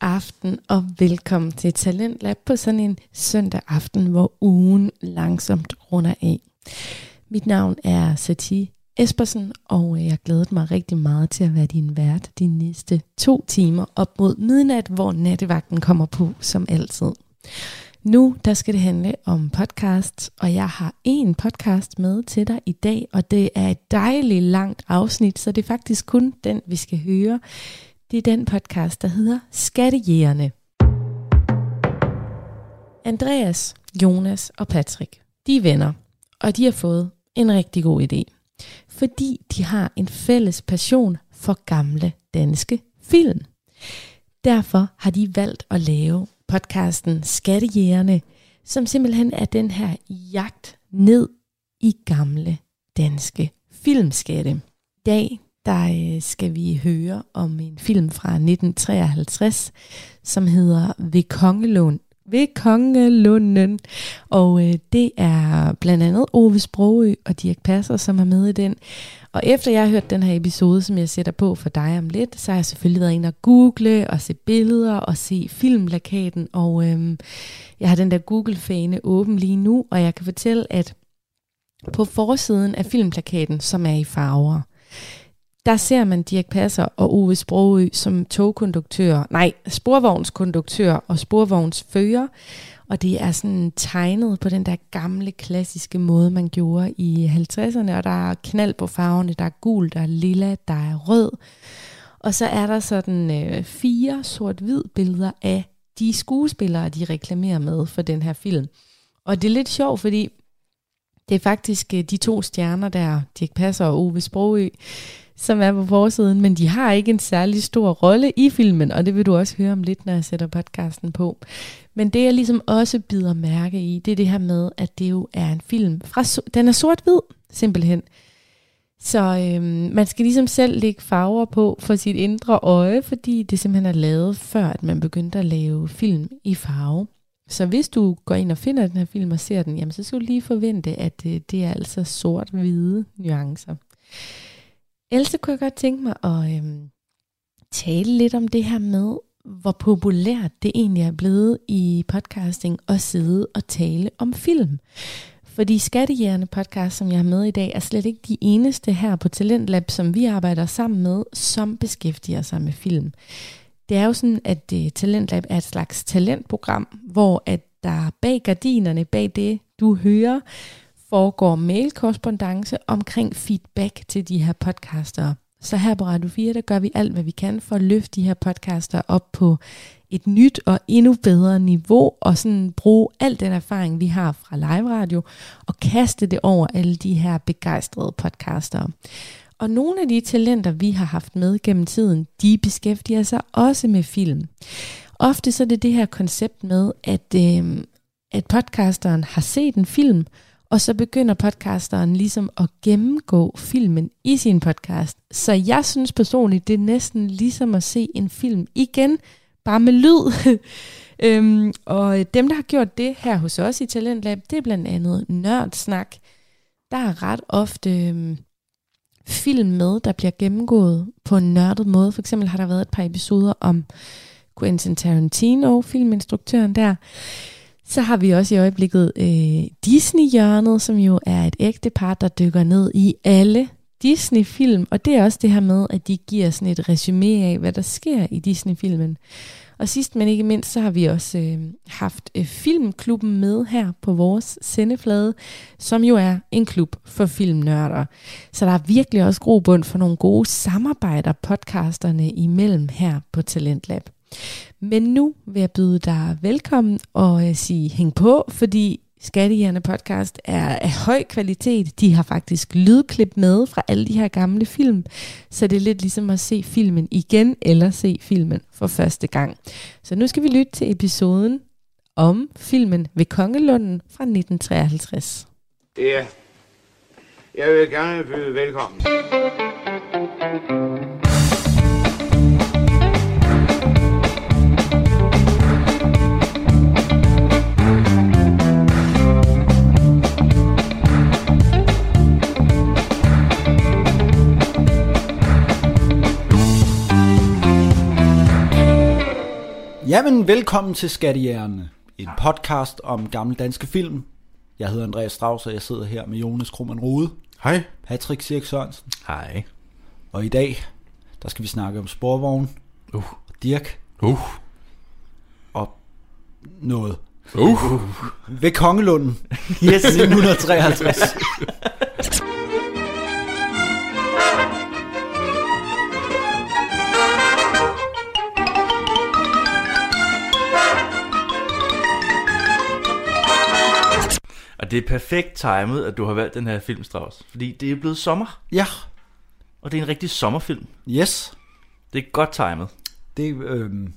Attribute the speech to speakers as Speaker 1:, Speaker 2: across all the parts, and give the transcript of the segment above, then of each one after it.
Speaker 1: aften og velkommen til Talentlab på sådan en søndag aften, hvor ugen langsomt runder af. Mit navn er Sati Espersen, og øh, jeg glæder mig rigtig meget til at være din vært de næste to timer op mod midnat, hvor nattevagten kommer på som altid. Nu der skal det handle om podcasts, og jeg har en podcast med til dig i dag, og det er et dejligt langt afsnit, så det er faktisk kun den, vi skal høre. Det er den podcast, der hedder Skattejægerne. Andreas, Jonas og Patrick, de er venner, og de har fået en rigtig god idé, fordi de har en fælles passion for gamle danske film. Derfor har de valgt at lave podcasten Skattejægerne, som simpelthen er den her jagt ned i gamle danske filmskatte. I dag der øh, skal vi høre om en film fra 1953, som hedder Ved Kongelund. Ved Kongelunden. Og øh, det er blandt andet Ove Sprogø og Dirk Passer, som er med i den. Og efter jeg har hørt den her episode, som jeg sætter på for dig om lidt, så har jeg selvfølgelig været inde og google og se billeder og se filmplakaten. Og øhm, jeg har den der Google-fane åben lige nu, og jeg kan fortælle, at på forsiden af filmplakaten, som er i farver, der ser man Dirk Passer og Ove Sprogø som togkonduktører, nej, sporvognskonduktører og sporvognsfører. Og det er sådan tegnet på den der gamle, klassiske måde, man gjorde i 50'erne. Og der er knald på farverne, der er gul, der er lilla, der er rød. Og så er der sådan øh, fire sort-hvid billeder af de skuespillere, de reklamerer med for den her film. Og det er lidt sjovt, fordi det er faktisk øh, de to stjerner der, Dirk Passer og Ove Sprogø, som er på forsiden, men de har ikke en særlig stor rolle i filmen, og det vil du også høre om lidt, når jeg sætter podcasten på. Men det, jeg ligesom også bider mærke i, det er det her med, at det jo er en film. Fra, so- den er sort-hvid, simpelthen. Så øhm, man skal ligesom selv lægge farver på for sit indre øje, fordi det simpelthen er lavet før, at man begyndte at lave film i farve. Så hvis du går ind og finder den her film og ser den, jamen så skal du lige forvente, at øh, det er altså sort-hvide nuancer. Else kunne jeg godt tænke mig at øhm, tale lidt om det her med, hvor populært det egentlig er blevet i podcasting at sidde og tale om film. Fordi Skattejægerne podcast, som jeg har med i dag, er slet ikke de eneste her på Talentlab, som vi arbejder sammen med, som beskæftiger sig med film. Det er jo sådan, at øh, Talentlab er et slags talentprogram, hvor at der bag gardinerne, bag det du hører, foregår mailkorrespondence omkring feedback til de her podcaster. Så her på Radio 4, der gør vi alt, hvad vi kan for at løfte de her podcaster op på et nyt og endnu bedre niveau, og sådan bruge al den erfaring, vi har fra live radio, og kaste det over alle de her begejstrede podcaster. Og nogle af de talenter, vi har haft med gennem tiden, de beskæftiger sig også med film. Ofte så er det det her koncept med, at, øh, at podcasteren har set en film, og så begynder podcasteren ligesom at gennemgå filmen i sin podcast. Så jeg synes personligt, det er næsten ligesom at se en film igen, bare med lyd. øhm, og dem, der har gjort det her hos os i Talentlab, det er blandt andet Nørdsnak. Der er ret ofte øhm, film med, der bliver gennemgået på en nørdet måde. For eksempel har der været et par episoder om Quentin Tarantino, filminstruktøren der. Så har vi også i øjeblikket øh, Disney-hjørnet, som jo er et ægte par, der dykker ned i alle Disney-film. Og det er også det her med, at de giver sådan et resume af, hvad der sker i Disney-filmen. Og sidst men ikke mindst, så har vi også øh, haft øh, Filmklubben med her på vores sendeflade, som jo er en klub for filmnørder. Så der er virkelig også grobund for nogle gode samarbejder podcasterne imellem her på Talentlab. Men nu vil jeg byde dig velkommen og øh, sige hæng på, fordi Skattejerne podcast er af høj kvalitet. De har faktisk lydklip med fra alle de her gamle film, så det er lidt ligesom at se filmen igen eller se filmen for første gang. Så nu skal vi lytte til episoden om filmen ved Kongelunden fra 1953.
Speaker 2: Ja, jeg vil gerne byde velkommen.
Speaker 3: Jamen, velkommen til Skattejægerne, en podcast om gamle danske film. Jeg hedder Andreas Strauss, og jeg sidder her med Jonas Krummernd Rode,
Speaker 4: Hej.
Speaker 3: Patrick Sirk Sørensen,
Speaker 4: Hej.
Speaker 3: og i dag, der skal vi snakke om sporvogn,
Speaker 4: Uh.
Speaker 3: Dirk
Speaker 4: Uh.
Speaker 3: og noget.
Speaker 4: Uh.
Speaker 3: Ved Kongelunden, yes. 1953.
Speaker 5: Og det er perfekt timet, at du har valgt den her film, Strauss. Fordi det er blevet sommer,
Speaker 3: Ja,
Speaker 5: og det er en rigtig sommerfilm.
Speaker 3: yes.
Speaker 5: Det er godt timet.
Speaker 3: Det, øhm,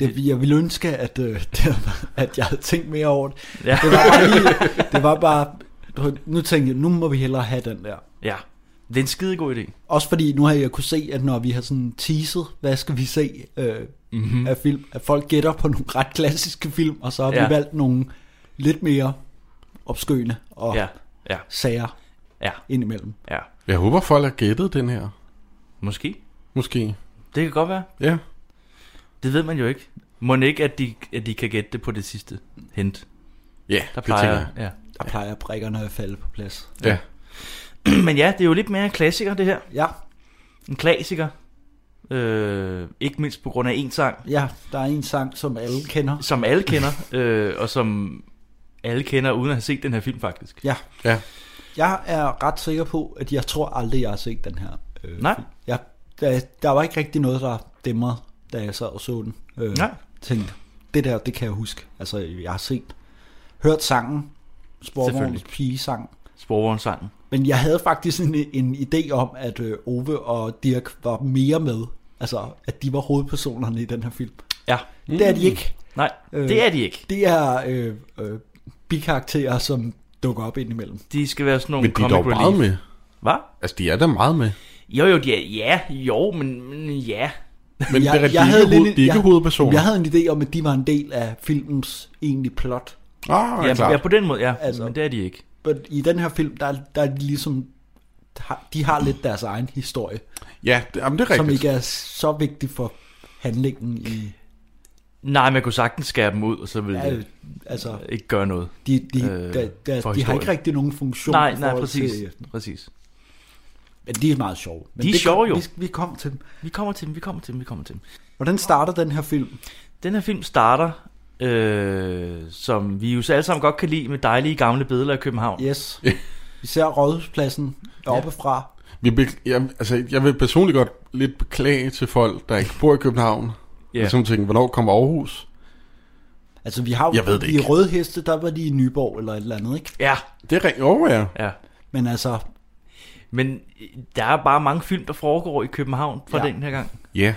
Speaker 3: det, jeg ville ønske, at, øh, det, at jeg havde tænkt mere over det.
Speaker 5: Ja.
Speaker 3: Det var bare, lige, det var bare du ved, nu tænkte jeg, nu må vi hellere have den der.
Speaker 5: ja. Det er en skide god idé.
Speaker 3: Også fordi nu har jeg kunne se, at når vi har sådan teaset, hvad skal vi se øh,
Speaker 5: Mhm.
Speaker 3: mm-hmm. af film, at folk gætter på nogle ret klassiske film, og så har ja.
Speaker 5: Ja.
Speaker 3: vi valgt nogle lidt mere opskøende og ja.
Speaker 5: Ja. Ja.
Speaker 3: sager
Speaker 5: Ja.
Speaker 3: indimellem.
Speaker 5: Ja.
Speaker 4: Jeg håber, folk har gættet den her.
Speaker 5: Måske.
Speaker 4: Måske.
Speaker 5: Det kan godt være.
Speaker 4: Ja.
Speaker 5: Det ved man jo ikke. Må ikke, at de, at de kan gætte det på det sidste hint.
Speaker 4: Ja,
Speaker 5: Der
Speaker 4: det tænker
Speaker 5: plejer,
Speaker 4: jeg.
Speaker 5: ja.
Speaker 3: Der plejer brikkerne at falde på plads.
Speaker 4: Ja.
Speaker 5: Men ja, det er jo lidt mere en klassiker, det her.
Speaker 3: Ja,
Speaker 5: En klassiker. Øh, ikke mindst på grund af en sang,
Speaker 3: ja, der er en sang, som alle kender.
Speaker 5: som alle kender, øh, og som alle kender uden at have set den her film faktisk.
Speaker 3: Ja,
Speaker 4: Ja.
Speaker 3: jeg er ret sikker på, at jeg tror aldrig, jeg har set den her. Øh,
Speaker 5: Nej.
Speaker 3: film. Jeg, der, der var ikke rigtig noget, der dæmrede, da jeg sad og så den. Øh,
Speaker 5: Nej.
Speaker 3: Tænkte, det der, det kan jeg huske. Altså, jeg har set, hørt sangen, Sporvogns
Speaker 5: Selvfølgelig.
Speaker 3: pigesang.
Speaker 5: Sporvognssangen.
Speaker 3: Men jeg havde faktisk en, en idé om, at øh, Ove og Dirk var mere med. Altså, at de var hovedpersonerne i den her film.
Speaker 5: Ja.
Speaker 3: Mm. Det er de ikke.
Speaker 5: Nej,
Speaker 3: Øh.
Speaker 5: øh. det er de ikke.
Speaker 3: Det er øh, øh, bikarakterer, som dukker op indimellem.
Speaker 5: De skal være sådan nogle
Speaker 4: Men de er dog
Speaker 5: comic
Speaker 4: meget
Speaker 5: relief.
Speaker 4: med.
Speaker 5: Hvad?
Speaker 4: Altså, de er da meget med.
Speaker 5: Jo, jo, de er, ja, jo, men, men ja.
Speaker 4: Men
Speaker 3: Jeg-
Speaker 4: jeg, det er, de,
Speaker 3: jeg
Speaker 4: er
Speaker 3: havde
Speaker 4: ikke, hoved,
Speaker 3: lidt-
Speaker 4: de er ikke
Speaker 3: jeg-
Speaker 4: hovedpersoner.
Speaker 3: Jeg havde en idé om, at de var en del af filmens egentlige plot.
Speaker 4: Ah, ja,
Speaker 5: Ja, ja,
Speaker 4: klart.
Speaker 5: på den måde, ja,
Speaker 3: Altså.
Speaker 5: altså. men det er de ikke.
Speaker 3: Men i den her film, der, der er de ligesom... har- De har lidt deres egen historie,
Speaker 4: ja, det, jamen, det er
Speaker 3: som
Speaker 4: rigtigt.
Speaker 3: ikke er så vigtig for handlingen i...
Speaker 5: Nej, man kunne sagtens skære dem ud, og så ville
Speaker 3: Ja,
Speaker 5: det
Speaker 3: altså,
Speaker 5: ikke gøre noget.
Speaker 3: de, de, øh,
Speaker 5: Øh,
Speaker 3: der, der,
Speaker 5: for
Speaker 3: de har
Speaker 5: historien.
Speaker 3: ikke rigtig nogen funktion
Speaker 5: Nej,
Speaker 3: i
Speaker 5: nej,
Speaker 3: forhold
Speaker 5: præcis.
Speaker 3: til...
Speaker 5: præcis.
Speaker 3: Men de er meget sjove. Men
Speaker 5: De er
Speaker 3: det-
Speaker 5: sjove jo.
Speaker 3: Vi, vi kom til dem.
Speaker 5: Vi kommer til dem, vi kommer til dem, vi kommer til dem.
Speaker 3: Hvordan starter den her film?
Speaker 5: Den her film starter, øh, som vi jo så alle sammen godt kan lide, med dejlige gamle billeder i København.
Speaker 3: Yes. Vi ser rådhuspladsen oppefra.
Speaker 4: Vi be, jeg, altså, jeg vil personligt godt lidt beklage til folk, der ikke bor i København.
Speaker 5: Ja.
Speaker 4: Yeah. Som tænker, hvornår kommer Aarhus?
Speaker 3: Altså, vi har jo
Speaker 4: Jeg ved det
Speaker 3: i
Speaker 4: ikke.
Speaker 3: Røde Heste, der var de i Nyborg eller et eller andet, ikke?
Speaker 5: Ja,
Speaker 4: Det er rigtigt. Oh, ja.
Speaker 5: ja.
Speaker 3: Men altså,
Speaker 5: Men øh, der er bare mange film, der foregår i København fra
Speaker 3: Ja.
Speaker 5: ja. den her gang.
Speaker 4: ja.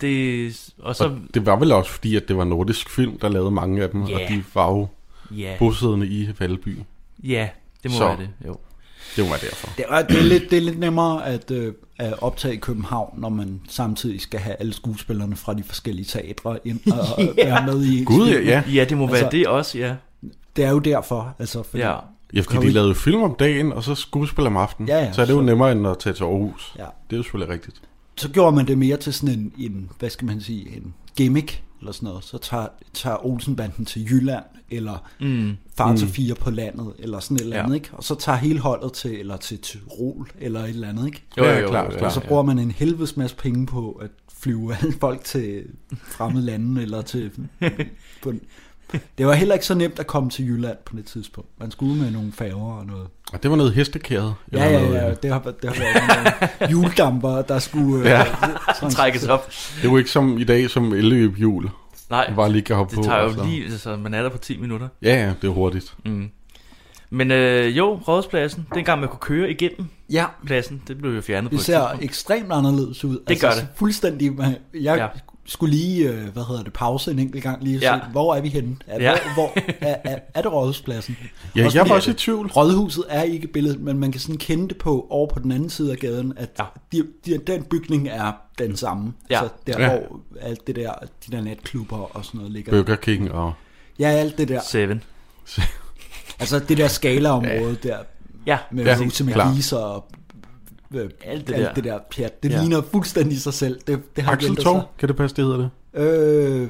Speaker 5: Det, og så,
Speaker 4: Og det var vel også fordi, at det var nordisk film, der lavede mange af dem. Yeah. Og
Speaker 5: Ja.
Speaker 4: de var jo
Speaker 5: ja,
Speaker 4: bosiddende i Valby.
Speaker 5: ja, det må
Speaker 4: Så.
Speaker 5: være det, jo.
Speaker 4: Det var derfor.
Speaker 3: Det er, det, er lidt, det er lidt nemmere at, øh, at optage i København, når man samtidig skal have alle skuespillerne fra de forskellige teatre ind og yeah. være med i. ens
Speaker 4: Gud, ja.
Speaker 3: film.
Speaker 4: ja.
Speaker 5: Ja, det må
Speaker 3: Altså-
Speaker 5: være det også, ja.
Speaker 3: Det er jo derfor. Altså, fordi,
Speaker 5: Ja.
Speaker 4: Ja, fordi
Speaker 3: Kom
Speaker 4: de
Speaker 3: ud.
Speaker 4: lavede film om dagen, og så skuespil om aftenen.
Speaker 3: Ja, ja,
Speaker 4: så er det jo
Speaker 3: så-
Speaker 4: nemmere end at tage til Aarhus.
Speaker 3: Ja.
Speaker 4: Det er jo selvfølgelig rigtigt.
Speaker 3: Så gjorde man det mere til sådan en, en hvad skal man sige, en gimmick eller sådan noget. Så tager, tager Olsenbanden til Jylland, eller mm. Far til Fire på landet, eller sådan et eller
Speaker 5: Ja.
Speaker 3: andet, ikke? Og så tager hele holdet til, eller til Tyrol, eller et eller andet, ikke?
Speaker 5: Jo,
Speaker 4: Ja,
Speaker 5: jo, jo,
Speaker 4: klart,
Speaker 5: jo,
Speaker 4: klart.
Speaker 3: Og så bruger man en helvedes masse penge på at flyve alle folk til fremmede lande, eller til... På, det var heller ikke så nemt at komme til Jylland på det tidspunkt. Man skulle ud med nogle færger og noget.
Speaker 4: Og det var noget hestekæret.
Speaker 3: Ja,
Speaker 4: eller
Speaker 3: ja,
Speaker 4: noget, øh,
Speaker 3: ja, det har, det har været nogle juledamper, der skulle... øh,
Speaker 4: Ja.
Speaker 3: sådan,
Speaker 5: Trækkes op.
Speaker 4: Det er jo ikke som i dag, som elløbhjul.
Speaker 5: Nej,
Speaker 4: Du bare lige kan hoppe
Speaker 5: det
Speaker 4: på.
Speaker 5: tager jo
Speaker 4: altså.
Speaker 5: lige, altså man er der på 10 minutter.
Speaker 4: Ja, ja, det er hurtigt.
Speaker 5: Mm. Men øh, jo, rådspladsen, dengang man kunne køre igennem
Speaker 3: Ja,
Speaker 5: pladsen, det blev jo fjernet
Speaker 3: det
Speaker 5: på et
Speaker 3: ser
Speaker 5: tidspunkt.
Speaker 3: ekstremt anderledes ud. Det
Speaker 5: gør det.
Speaker 3: Fuldstændig. man- Jeg ja.
Speaker 5: Ja.
Speaker 3: skulle lige, øh, hvad hedder det, pause en enkelt gang lige og se,
Speaker 5: Ja.
Speaker 3: hvor er vi henne? Er,
Speaker 5: Ja.
Speaker 3: hvor, hvor, er, er, er det rådhuspladsen?
Speaker 4: Ja,
Speaker 3: Også
Speaker 4: jeg
Speaker 3: fordi-
Speaker 4: var også i tvivl.
Speaker 3: Rådhuset er ikke i billedet, men man kan sådan kende det på over på den anden side af gaden, at ja.
Speaker 5: Ja.
Speaker 3: de, de, den bygning er den samme.
Speaker 5: Ja.
Speaker 3: Altså der,
Speaker 4: Ja.
Speaker 3: hvor alt det der, de der natklubber og sådan noget ligger.
Speaker 4: Burger King og...
Speaker 3: Ja, alt det der.
Speaker 5: Seven.
Speaker 3: Altså det der skalaområde ja. der
Speaker 5: Ja,
Speaker 3: med ja,
Speaker 4: Ja,
Speaker 3: huse med
Speaker 4: klar.
Speaker 3: gliser og øh, alt det, alt der. det der pjat. Det ja.
Speaker 5: Ja.
Speaker 3: ligner fuldstændig sig selv. Det, det har ikke ændret
Speaker 4: Axeltog, kan det passe, det hedder det?
Speaker 3: sig. Øh,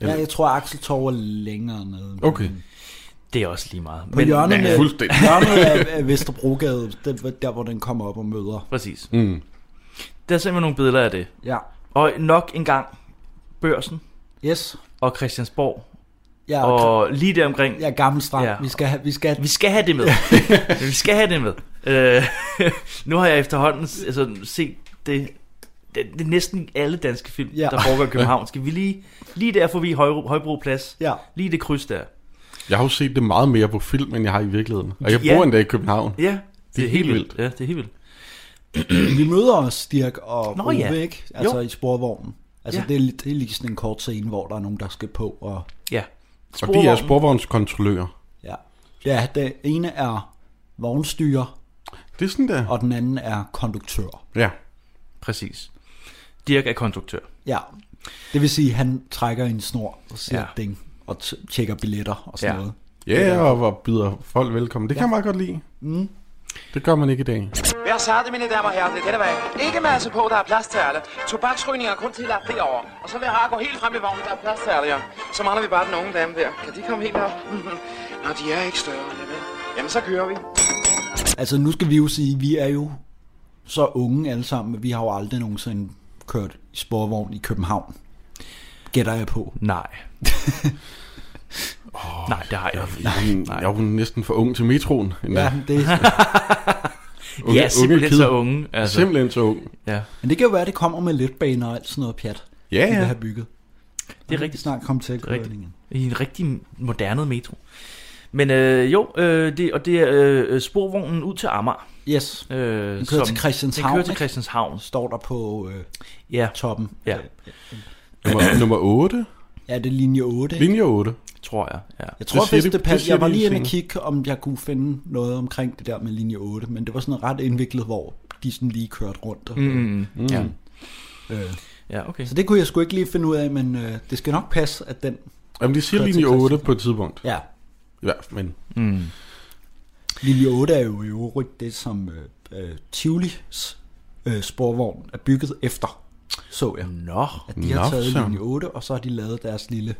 Speaker 3: Ja, jeg tror, Axel Torv er længere nede.
Speaker 4: Okay.
Speaker 5: Det er også lige meget.
Speaker 3: På hjørnet,
Speaker 4: Ja,
Speaker 3: med,
Speaker 4: fuldstændig.
Speaker 3: hjørnet af, af Vesterbrogade, der, der hvor den kommer op og møder.
Speaker 5: Præcis.
Speaker 4: Mm.
Speaker 5: Der er simpelthen nogle billeder af det.
Speaker 3: Ja.
Speaker 5: Og nok en gang Børsen
Speaker 3: Yes.
Speaker 5: og Christiansborg.
Speaker 3: Ja, og...
Speaker 5: Og lige der omkring.
Speaker 3: ja gammel strand.
Speaker 5: Ja.
Speaker 3: Ja. Vi skal have, vi skal have,
Speaker 5: Vi skal have det med. vi skal have det med. Øh, nu har jeg efterhånden altså, set det, det, det er næsten alle danske film, ja.
Speaker 3: Ja.
Speaker 5: der foregår i København. Skal vi lige, lige der forbi Højro, Højbro Plads?
Speaker 3: ja.
Speaker 5: Lige det kryds der.
Speaker 4: Jeg har jo set det meget mere på film, end jeg har i virkeligheden. Og jeg
Speaker 5: Ja.
Speaker 4: bor endda i København.
Speaker 5: Ja, det,
Speaker 4: Det er helt vildt.
Speaker 5: Ja, det er helt vildt.
Speaker 3: Vi møder os, Dirk og
Speaker 5: Nå,
Speaker 3: Nå, Ove,
Speaker 5: ja.
Speaker 3: ikke? Altså
Speaker 5: Jo.
Speaker 3: i sporvognen. Altså
Speaker 5: Ja.
Speaker 3: ja. det, er, det er lige sådan en kort scene, hvor der er nogen, der skal på. Og,
Speaker 5: Ja.
Speaker 4: Og de er
Speaker 5: Sporvognen.
Speaker 4: sporvognskontrollører.
Speaker 3: ja. ja, den ene er vognstyrer,
Speaker 4: Det er sådan der.
Speaker 3: og den anden er konduktør.
Speaker 4: Ja.
Speaker 5: Præcis. Dirk er konduktør.
Speaker 3: Ja, det vil sige, at han trækker i en snor og siger
Speaker 5: Ja.
Speaker 3: ja. ding, og t- tjekker billetter og sådan ja.
Speaker 5: Ja.
Speaker 3: noget.
Speaker 4: Ja, yeah, og, og byder folk velkommen. Det kan jeg meget godt lide. Mm. Det gør man ikke i dag.
Speaker 6: Vær sarte, mine damer og herrer, det er denne vej. Ikke masse på, der er plads til alle. Tobaksrygninger er kun til at derovre. Og så vil jeg bare gå helt frem i vognen, der er plads til alle, ja. Så mangler vi bare den unge dame der. Kan de komme helt op? Nå, de er ikke større, jamen. Jamen, så kører vi.
Speaker 3: Altså nu skal vi jo sige, at vi er jo så unge alle sammen, men vi har jo aldrig nogensinde kørt i sporvogn i København. Gætter jeg på.
Speaker 5: Nej. oh, Nej, det har jeg ikke.
Speaker 4: Jeg er jo næsten for ung til metroen. endda.
Speaker 3: Ja, det,
Speaker 4: Unge-
Speaker 5: Ja, simpelthen
Speaker 4: kid.
Speaker 5: så unge. Altså,
Speaker 4: Simpelthen så ung.
Speaker 5: ja.
Speaker 3: men det kan jo være, at det kommer med letbaner og alt sådan noget pjat,
Speaker 4: Ja,
Speaker 3: vi vil
Speaker 4: ja.
Speaker 3: have bygget.
Speaker 5: Det er rigtigt.
Speaker 3: Snart kom til at
Speaker 5: er rigtigt.
Speaker 3: køre
Speaker 5: I en rigtig moderne metro. Men øh, jo, øh, det, og det er øh, sporvognen ud til Amager.
Speaker 3: Yes,
Speaker 5: Øh, den
Speaker 3: kører til Christianshavn,
Speaker 5: Den kører til
Speaker 3: ikke?
Speaker 5: Christianshavn.
Speaker 3: står der på øh,
Speaker 5: Ja,
Speaker 3: toppen.
Speaker 5: Ja.
Speaker 3: Øh,
Speaker 4: Nummer, nummer 8.
Speaker 3: Ja, det er linje 8. Ikke?
Speaker 4: Linje 8.
Speaker 5: tror jeg. Ja.
Speaker 3: Jeg tror
Speaker 4: Det siger
Speaker 3: faktisk,
Speaker 4: de-
Speaker 3: det
Speaker 4: det
Speaker 3: passer.
Speaker 4: siger
Speaker 3: Jeg var
Speaker 4: de
Speaker 3: lige inde og
Speaker 4: senere.
Speaker 3: kigge, om jeg kunne finde noget omkring det der med linje 8, men det var sådan ret indviklet, hvor de sådan lige kørte rundt. Og,
Speaker 5: Mm, mm. ja.
Speaker 3: øh,
Speaker 5: ja, okay.
Speaker 3: så det kunne jeg sgu ikke lige finde ud af, men øh, det skal nok passe, at den...
Speaker 4: Jamen, de siger
Speaker 3: Kører til
Speaker 4: linje 8
Speaker 3: Christianshavn.
Speaker 4: på et tidspunkt.
Speaker 3: Ja,
Speaker 4: I hvert fald, men
Speaker 5: Mm.
Speaker 3: linje 8 er jo i øvrigt det, som øh, øh, Tivolis øh, sporvogn er bygget efter, så jeg.
Speaker 5: Nå,
Speaker 3: At de har
Speaker 4: Nå,
Speaker 3: taget
Speaker 4: så.
Speaker 3: linje 8, og så har de lavet deres lille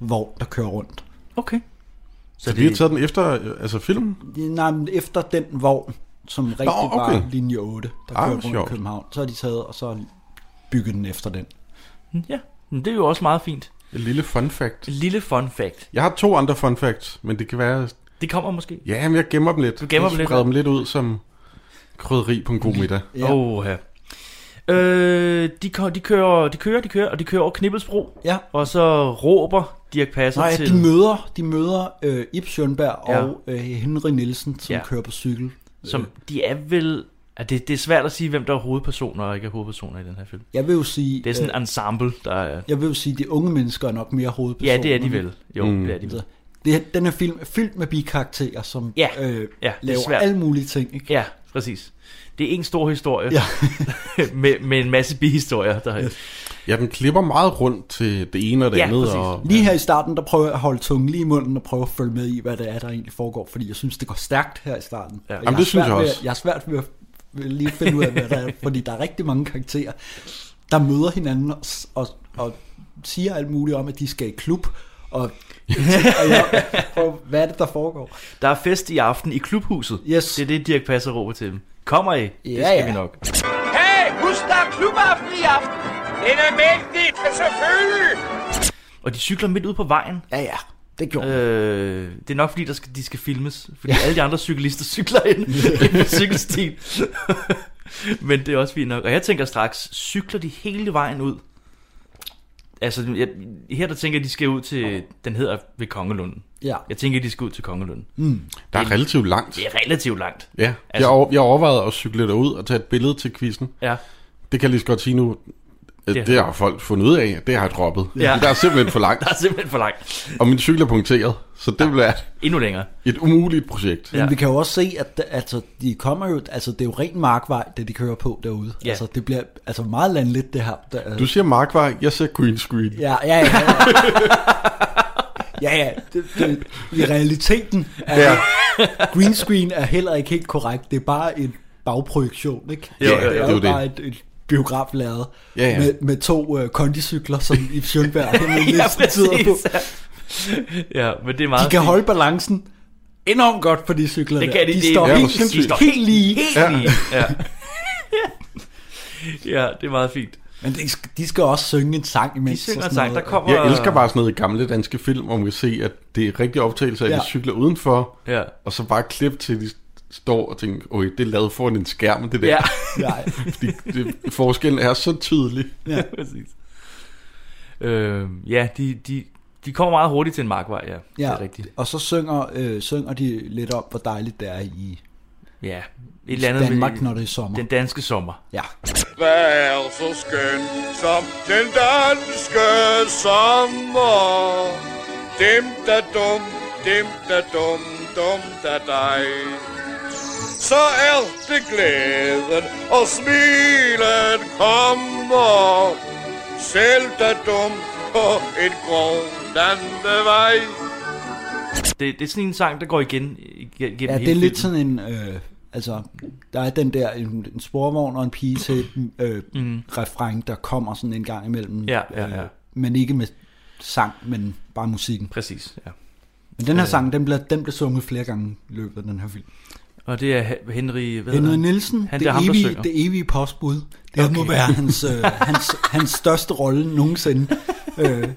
Speaker 3: vogn, der kører rundt.
Speaker 5: okay.
Speaker 4: Så vi har taget den efter øh, altså filmen?
Speaker 3: Nej, men efter den vogn, som rigtig Nå,
Speaker 4: okay.
Speaker 3: okay. var linje 8, der
Speaker 4: Ah,
Speaker 3: ah, kører rundt
Speaker 4: sjovt.
Speaker 3: i København, så har de taget og så bygget den efter den.
Speaker 5: Ja, men det er jo også meget fint.
Speaker 4: Et lille fun fact.
Speaker 5: Et lille fun fact.
Speaker 4: Jeg har to andre fun facts, men det kan være...
Speaker 5: Det kommer måske.
Speaker 4: Ja, men jeg gemmer dem lidt.
Speaker 5: Du gemmer dem lidt.
Speaker 4: Jeg spreder dem lidt ud som krydderi på en god middag.
Speaker 5: Ja.
Speaker 3: Ja.
Speaker 5: Oh, ja. Øh, de, ko- de, kører, de kører, de kører, og de kører over Knibbelsbro.
Speaker 3: Ja.
Speaker 5: Og så råber Dirk Passer
Speaker 3: Nej,
Speaker 5: til...
Speaker 3: de møder, de møder øh, Ib Schønberg
Speaker 5: Ja.
Speaker 3: ja. og øh, Henry Nielsen, som
Speaker 5: Ja.
Speaker 3: ja. kører på cykel. Øh,
Speaker 5: Som de er vel... Ja, det, det er svært at sige, hvem der er hovedpersoner og ikke er hovedpersoner i den her film.
Speaker 3: Jeg vil jo sige, øh,
Speaker 5: Det er sådan en ensemble, der er...
Speaker 3: jeg vil jo sige, de unge mennesker er nok mere hovedpersoner. altså,
Speaker 5: Ja, det er de vel. Jo, mm.
Speaker 4: Mm.
Speaker 5: det er de vel.
Speaker 3: Det, den her film er fyldt med bikarakterer, som
Speaker 5: Ja.
Speaker 3: øh,
Speaker 5: Ja, det er
Speaker 3: laver
Speaker 5: svært.
Speaker 3: alle mulige ting. Ikke?
Speaker 5: Ja, præcis. Det er en stor historie
Speaker 3: Ja.
Speaker 5: med, med en masse bihistorier. Der...
Speaker 4: Ja, den klipper meget rundt til det ene og det
Speaker 5: Ja,
Speaker 4: andet.
Speaker 5: præcis.
Speaker 4: Og,
Speaker 3: Lige her i starten, der prøver jeg at holde tungen lige i munden og prøve at følge med i, hvad det er, der egentlig foregår, fordi jeg synes, det går stærkt her i starten. Og
Speaker 5: Jamen,
Speaker 3: har
Speaker 4: det synes
Speaker 3: svært
Speaker 4: jeg
Speaker 3: ved-
Speaker 4: også.
Speaker 3: Jeg har svært ved at ved lige at finde ud af, hvad der er, fordi der er rigtig mange karakterer, der møder hinanden og, s- og, og siger alt muligt om, at de skal i klub, og, og jeg prøver, hvad er det, der foregår?
Speaker 5: Der er fest i aften i klubhuset.
Speaker 3: Yes.
Speaker 5: Det er det, Dirk Passer råber til dem. Kommer I? det
Speaker 3: Ja,
Speaker 5: skal
Speaker 3: ja.
Speaker 5: vi nok.
Speaker 6: Hey, husk, der er klubaften i aften. Det er da mægtigt, selvfølgelig.
Speaker 5: Og de cykler midt ud på vejen.
Speaker 3: Ja, ja, det gjorde øh.
Speaker 5: Øh, det er nok fordi, der skal, de skal filmes. Fordi alle de andre cyklister cykler ind, ind på cykelstien. Men det er også fint nok. Og jeg tænker straks, cykler de hele vejen ud? Altså, jeg, her der tænker jeg, de skal ud til... Den hedder ved Kongelunden.
Speaker 3: Ja.
Speaker 5: Jeg tænker, de skal ud til Kongelunden.
Speaker 4: der er relativt langt.
Speaker 5: Det er relativt langt.
Speaker 4: Ja,
Speaker 5: Altså-
Speaker 4: jeg, over, jeg overvejede at cykle derud og tage et billede til quizzen.
Speaker 5: Ja.
Speaker 4: Det kan jeg lige så godt sige nu. Øh,
Speaker 5: Det-
Speaker 4: Det har folk fundet ud af. Det har jeg droppet.
Speaker 5: Ja.
Speaker 4: Ja. Der er simpelthen for langt.
Speaker 5: Der er simpelthen for langt.
Speaker 4: Og min cykel er punkteret. Så det vil være
Speaker 5: Endnu længere.
Speaker 4: et umuligt projekt.
Speaker 5: Ja.
Speaker 3: Men vi kan jo også se, at der- altså, de kommer jo, altså, det er jo ren markvej, det de kører på derude.
Speaker 5: Ja.
Speaker 3: Altså, det bliver altså, meget landligt, det her. Der,
Speaker 4: Du siger markvej, jeg siger green screen.
Speaker 3: Ja, ja, ja. Ja, ja. ja, det, det, I realiteten er ja.
Speaker 4: Ja.
Speaker 3: green screen er heller ikke helt korrekt. Det er bare en bagprojektion, ikke?
Speaker 5: Jo, jo, jo.
Speaker 3: det er
Speaker 4: Det er
Speaker 3: jo
Speaker 4: jo
Speaker 3: bare et, et biograflærred
Speaker 4: Ja, ja.
Speaker 3: Med, med to øh, kondicykler, som i Sjønberg
Speaker 5: ja,
Speaker 3: tider på.
Speaker 5: præcis. ja, men det er meget
Speaker 3: De kan
Speaker 5: fint.
Speaker 3: holde balancen enormt godt på de cykler
Speaker 5: Det
Speaker 3: der.
Speaker 5: kan de,
Speaker 3: de
Speaker 5: det-
Speaker 3: står
Speaker 5: ja,
Speaker 3: helt, de
Speaker 4: præcis.
Speaker 3: står
Speaker 5: De står
Speaker 3: helt lige.
Speaker 5: Helt
Speaker 4: Ja.
Speaker 5: lige, ja. ja, det er meget fint.
Speaker 3: Men de skal, de skal også synge en sang
Speaker 5: De
Speaker 3: imens. og
Speaker 5: synger
Speaker 3: sådan
Speaker 5: sang, der
Speaker 3: noget.
Speaker 5: kommer...
Speaker 4: Jeg elsker bare sådan noget gamle danske film, hvor man kan se, at det er rigtige optagelser af, at
Speaker 3: Ja.
Speaker 4: de cykler udenfor,
Speaker 5: Ja.
Speaker 4: og så bare klip til, at de står og tænker, okay, det er lavet foran en skærm, det der.
Speaker 5: Ja,
Speaker 3: Nej,
Speaker 4: Fordi det, forskellen er så tydelig.
Speaker 5: ja. præcis. Øh, ja, de, de, de kommer meget hurtigt til en markvej, ja. Det er
Speaker 3: ja.
Speaker 5: rigtigt.
Speaker 3: Og så synger, øh, synger de lidt om, hvor dejligt det er i
Speaker 5: Ja, et eller andet
Speaker 3: Danmark, når det er sommer.
Speaker 5: den danske sommer.
Speaker 3: Ja.
Speaker 7: Hvad er så skøn som den danske sommer? Dem der dum, dem der dum, dum der dig. Så er det glæden, og smilet kommer. Selv der dum på en grundlande vej.
Speaker 5: Det, det er sådan en sang, der går igen igennem
Speaker 3: ja,
Speaker 5: hele
Speaker 3: det er lidt
Speaker 5: filmen.
Speaker 3: sådan en... Øh, altså, der er den der en, en sporvogn og en pige til øh, mm. refræng, der kommer sådan en gang imellem.
Speaker 5: Ja, ja, ja.
Speaker 3: Øh, men ikke med sang, men bare musikken.
Speaker 5: Præcis, ja.
Speaker 3: Men
Speaker 5: Øh.
Speaker 3: den her sang, den blev, den blev sunget flere gange i løbet af den her film.
Speaker 5: Og det er Hen- Henry... Hvad
Speaker 3: Henry
Speaker 5: hedder han?
Speaker 3: Nielsen,
Speaker 5: Han,
Speaker 3: han,
Speaker 5: det
Speaker 3: det,
Speaker 5: er ham, der
Speaker 3: evige,
Speaker 5: synger.
Speaker 3: det evige postbud, det okay. må være hans, øh, hans, hans største rolle nogensinde. Øh,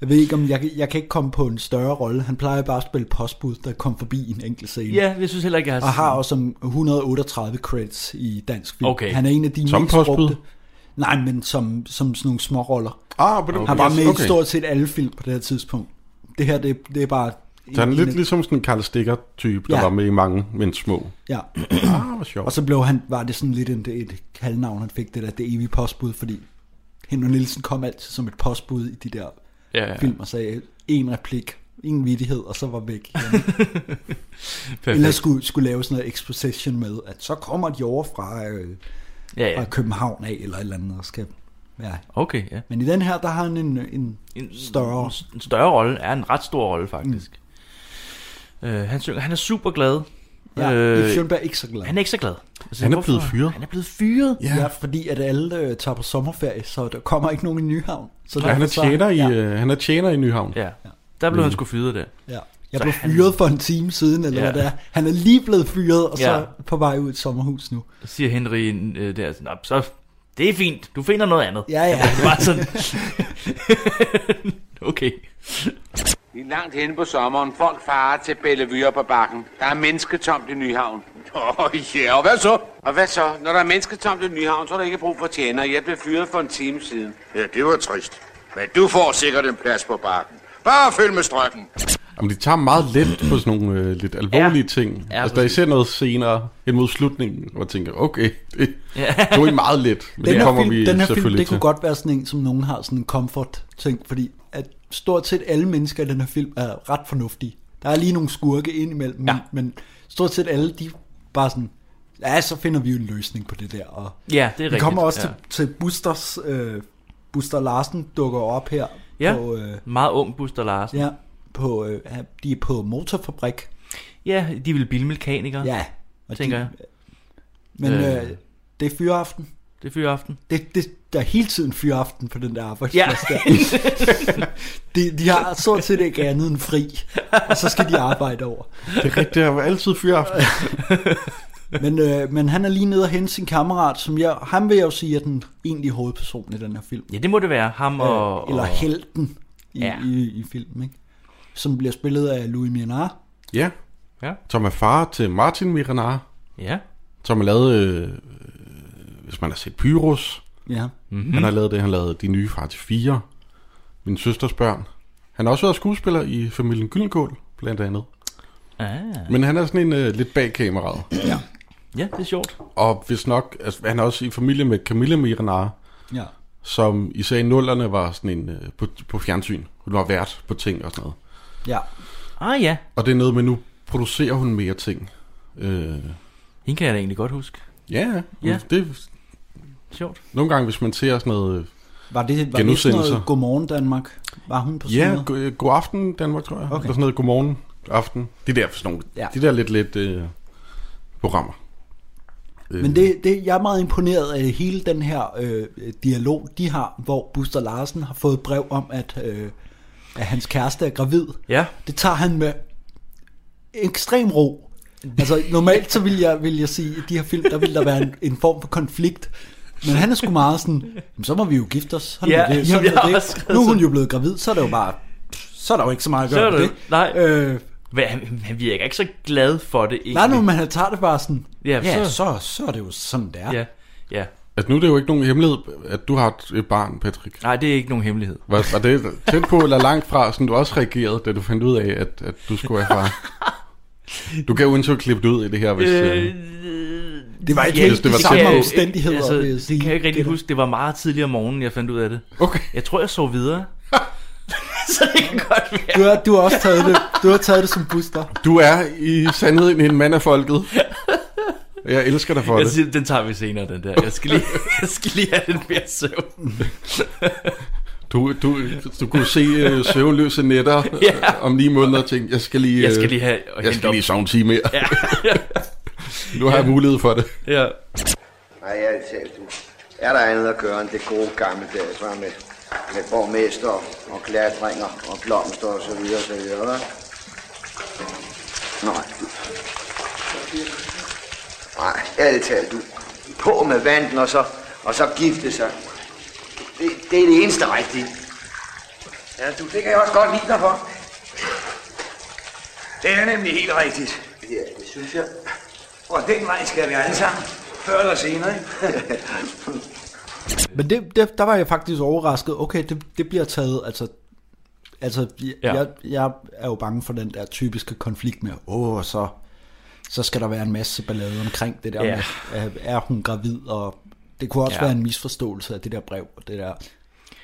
Speaker 3: jeg ved ikke, om jeg, jeg kan ikke komme på en større rolle. Han plejer bare at spille postbud, der kom forbi en enkelt scene.
Speaker 5: Ja, jeg synes heller ikke, jeg har...
Speaker 3: Og har også som 138 credits i dansk film.
Speaker 5: Okay.
Speaker 3: Han er en af de
Speaker 4: Som
Speaker 3: mest
Speaker 4: postbud?
Speaker 3: brugte. Nej, men som, som sådan nogle små roller.
Speaker 4: Ah, på den
Speaker 3: Han var
Speaker 4: måde.
Speaker 3: med i stort set alle film på det her tidspunkt. Det her, det, det er bare...
Speaker 4: Så han er
Speaker 3: en-
Speaker 4: lidt
Speaker 3: en-
Speaker 4: ligesom sådan en Karl Stikker-type, der
Speaker 3: Ja.
Speaker 4: var med i mange, men små.
Speaker 3: Ja.
Speaker 4: Ah, hvor
Speaker 3: Og
Speaker 4: sjovt.
Speaker 3: så blev han, var det sådan lidt en, et kaldnavn, han fik det der, det evige postbud, fordi Henry Nielsen kom altid som et postbud i de der
Speaker 5: Ja, ja.
Speaker 3: ja. film og sagde en replik, en vittighed, og så var væk. igen. Eller
Speaker 5: Perfekt.
Speaker 3: skulle, skulle lave sådan noget exposition med, at så kommer de over fra, øh,
Speaker 5: Ja,
Speaker 3: fra
Speaker 5: ja.
Speaker 3: København af, eller et eller andet, og skal... Ja.
Speaker 5: Okay, ja.
Speaker 3: Men i den her, der har han en, en,
Speaker 5: en
Speaker 3: større...
Speaker 5: En større rolle, er en ret stor rolle faktisk. Mm. Øh, han synger, han er super glad.
Speaker 3: Ja, øh, det er Fjernberg ikke så glad.
Speaker 5: han er ikke så glad. Altså,
Speaker 4: Han er blevet fyret.
Speaker 5: Han er blevet fyret.
Speaker 4: Ja.
Speaker 3: Ja, fordi at alle øh, tager på sommerferie, så der kommer ikke nogen i Nyhavn. Så
Speaker 4: Ja, han er
Speaker 3: derfor så-
Speaker 4: tjener i,
Speaker 3: Ja.
Speaker 4: øh, han er tjener i Nyhavn.
Speaker 5: Ja. Der blev han sgu fyret der.
Speaker 3: Ja. Jeg
Speaker 5: Så
Speaker 3: blev
Speaker 5: han-
Speaker 3: fyret for en time siden, eller
Speaker 5: Ja.
Speaker 3: ja. hvad det er. Han er lige blevet fyret, og så
Speaker 5: Ja.
Speaker 3: ja. på vej ud i et sommerhus nu.
Speaker 5: Så siger Henry øh, der, sådan, "Nå, så det er fint, du finder noget andet. Altså,
Speaker 3: Ja, ja.
Speaker 5: Det var sådan, okay.
Speaker 6: Vi er langt henne på sommeren. Folk farer til Bellevue på bakken. Der er mennesketomt i Nyhavn. Åh, oh, ja, yeah. og hvad så? Og hvad så? Når der er mennesketomt i Nyhavn, så er der ikke brug for tjener. Jeg blev fyret for en time siden.
Speaker 7: Ja, det var trist. Men du får sikkert en plads på bakken. Bare følg med strømmen.
Speaker 4: Jamen, de tager meget let på sådan nogle øh, lidt alvorlige ja. ting.
Speaker 5: Ja,
Speaker 4: Ja, altså, der er
Speaker 5: præcis.
Speaker 4: især noget senere hen mod slutningen, hvor jeg tænker, okay, det,
Speaker 5: Ja.
Speaker 4: det var meget let. Men
Speaker 3: Den
Speaker 4: det
Speaker 3: her
Speaker 4: kommer
Speaker 3: film,
Speaker 4: vi
Speaker 3: den her
Speaker 4: selvfølgelig
Speaker 3: film det
Speaker 4: til.
Speaker 3: kunne godt være sådan en, som nogen har sådan en comfort-ting, fordi at stort set alle mennesker i den her film er ret fornuftige. Der er lige nogle skurke ind imellem, ja. men stort set alle, de er bare sådan, ja, så finder vi jo en løsning på det der. Og
Speaker 5: Ja, det er
Speaker 3: vi
Speaker 5: rigtigt.
Speaker 3: kommer også
Speaker 5: ja.
Speaker 3: til, til Busters, øh, Buster Larsen dukker op her.
Speaker 5: ja.
Speaker 3: På, øh,
Speaker 5: meget ung Buster Larsen. Ja,
Speaker 3: ja, på, øh, de er på motorfabrik.
Speaker 5: ja de vil bilmekanikere, ja,
Speaker 3: Ja, og
Speaker 5: tænker
Speaker 3: de,
Speaker 5: jeg.
Speaker 3: Men
Speaker 5: Øh.
Speaker 3: øh. Øh, det er fyreaften.
Speaker 5: Det er fyreaften.
Speaker 3: Det, det, der er hele tiden fyreaften på den der
Speaker 5: Ja.
Speaker 3: arbejdsplads der. de, de har stort set ikke andet end fri, og så skal de arbejde over.
Speaker 4: Det er rigtigt, det var altid fyraften.
Speaker 3: Men, øh, men han er lige nede og hente sin kammerat, som jeg, ham vil jeg jo sige er den egentlige hovedperson i den her film.
Speaker 5: Ja, det må det være. Ham og...
Speaker 3: Øh, Eller
Speaker 5: og,
Speaker 3: helten i,
Speaker 5: Ja.
Speaker 3: ja. i, i filmen, ikke? Som bliver spillet af Louis Mianar.
Speaker 4: ja.
Speaker 5: Ja.
Speaker 4: Som er far til Martin Miranar,
Speaker 5: Ja.
Speaker 4: som har lavet, øh, øh, hvis man har set Pyrus,
Speaker 3: Ja.
Speaker 4: mm. han har lavet det, han lavede De Nye Far til Fire, Min Søsters Børn. Han har også været skuespiller i Familien Gyllenkål, blandt andet.
Speaker 5: Ah.
Speaker 4: Men han er sådan en øh, lidt bag kameraet.
Speaker 5: Ja, det er sjovt.
Speaker 4: Og hvis nok, altså, han er også i familie med Camilla Miranar,
Speaker 3: ja.
Speaker 4: som især i nullerne var sådan en øh, på, på fjernsyn. Hun var vært på ting og sådan noget.
Speaker 3: Ja.
Speaker 5: Ah ja,
Speaker 4: Og det er noget med, nu producerer hun mere ting. Øh,
Speaker 5: hende kan jeg da egentlig godt huske.
Speaker 4: ja,
Speaker 5: Ja.
Speaker 4: ja. Det,
Speaker 5: Sjovt.
Speaker 4: nogle gange, hvis man ser sådan noget... øh,
Speaker 3: Var det, var det sådan
Speaker 4: Genudsendelser.
Speaker 3: noget Godmorgen Danmark? Var hun på sådan
Speaker 4: Ja,
Speaker 3: noget?
Speaker 4: go, øh, god aften Danmark, tror jeg. Okay. Eller sådan noget godmorgen aften. Det der, sådan nogle,
Speaker 3: Ja.
Speaker 4: ja. de der lidt lidt øh, programmer.
Speaker 5: Øhm.
Speaker 3: Men det, det, jeg er meget imponeret af hele den her øh, dialog, de har, hvor Buster Larsen har fået brev om, at, øh, at hans kæreste er gravid.
Speaker 5: Ja.
Speaker 3: Det tager han med ekstrem ro. Altså normalt så vil jeg, vil jeg sige, at i de her film, der vil der være en, en form for konflikt. Men han er sgu meget sådan, "Jamen, så må vi jo gifte os. Sådan
Speaker 5: Ja,
Speaker 3: er det, sådan
Speaker 5: jamen, jeg
Speaker 3: er
Speaker 5: har også
Speaker 3: det.
Speaker 5: skrevet
Speaker 3: Nu er hun
Speaker 5: sådan.
Speaker 3: jo blevet gravid, så er det jo bare, så er der jo ikke så meget at
Speaker 5: Så er
Speaker 3: gøre ved
Speaker 5: det-
Speaker 3: det.
Speaker 5: nej.
Speaker 3: Øh,
Speaker 5: Men han, han virker ikke så glad for det, egentlig.
Speaker 3: nej, nu, men han tager det bare sådan,
Speaker 5: Ja,
Speaker 3: ja,
Speaker 5: så-
Speaker 3: så, så, så er det jo sådan, det er.
Speaker 5: Ja, ja.
Speaker 4: At Øh, altså, nu er det jo ikke nogen hemmelighed, at du har et- et barn, Patrick.
Speaker 5: Nej, det er ikke nogen hemmelighed.
Speaker 4: Var, var det tæt på eller langt fra, sådan du også reagerede, da du fandt ud af, at, at du skulle være far? Du kan jo ikke klippe det ud i det her, hvis... Øh,
Speaker 3: Det var ikke
Speaker 5: Ja,
Speaker 3: helt
Speaker 4: det
Speaker 3: de
Speaker 4: var
Speaker 3: samme
Speaker 4: tæt på.
Speaker 3: omstændigheder,
Speaker 5: altså,
Speaker 3: vil jeg
Speaker 5: Det
Speaker 3: sige.
Speaker 5: kan jeg ikke rigtig
Speaker 3: Det-
Speaker 5: huske. Det var meget tidligere om morgenen, jeg fandt ud af det.
Speaker 4: okay.
Speaker 5: Jeg tror, jeg sov videre. så det kan godt være.
Speaker 3: Du har, du har også taget det, du har taget det som Buster.
Speaker 4: Du er i sandhed en- en mand af folket. Jeg elsker dig for
Speaker 5: Jeg
Speaker 4: det.
Speaker 5: siger, den tager vi senere, den der. Jeg skal lige, jeg skal lige have lidt mere søvn.
Speaker 4: Du, du, du kunne se øh, søvnløse nætter
Speaker 5: Ja.
Speaker 4: øh, om ni måneder og tænke, jeg skal lige, øh,
Speaker 5: Jeg skal lige have... Og
Speaker 4: jeg
Speaker 5: hente
Speaker 4: skal
Speaker 5: op.
Speaker 4: lige sove en time mere. Ja. nu har jeg mulighed for det.
Speaker 5: Ja.
Speaker 7: Nej, jeg talt, du. Er der andet at gøre end det gode gamle dag, så med, med borgmester og klatringer og blomster og så videre, så videre, hva'? Nej, du. Nej, ærligt talt, du. På med vandet og så, og så gifte sig. Det, det er det eneste rigtige. Ja, du, det kan jeg også godt lide dig for.
Speaker 6: Det er nemlig helt rigtigt.
Speaker 7: Ja, det synes jeg.
Speaker 6: Og den vej skal vi alle sammen. Før eller senere, ikke?
Speaker 3: Men det, det, der var jeg faktisk overrasket. Okay, det, det bliver taget, altså... Altså, jeg,
Speaker 5: Ja.
Speaker 3: ja. jeg, jeg er jo bange for den der typiske konflikt med, åh, oh, så, så skal der være en masse ballade omkring det der
Speaker 5: Ja.
Speaker 3: ja. med, øh, er hun gravid, og det kunne også
Speaker 5: Ja.
Speaker 3: ja. være en misforståelse af det der brev, og det der...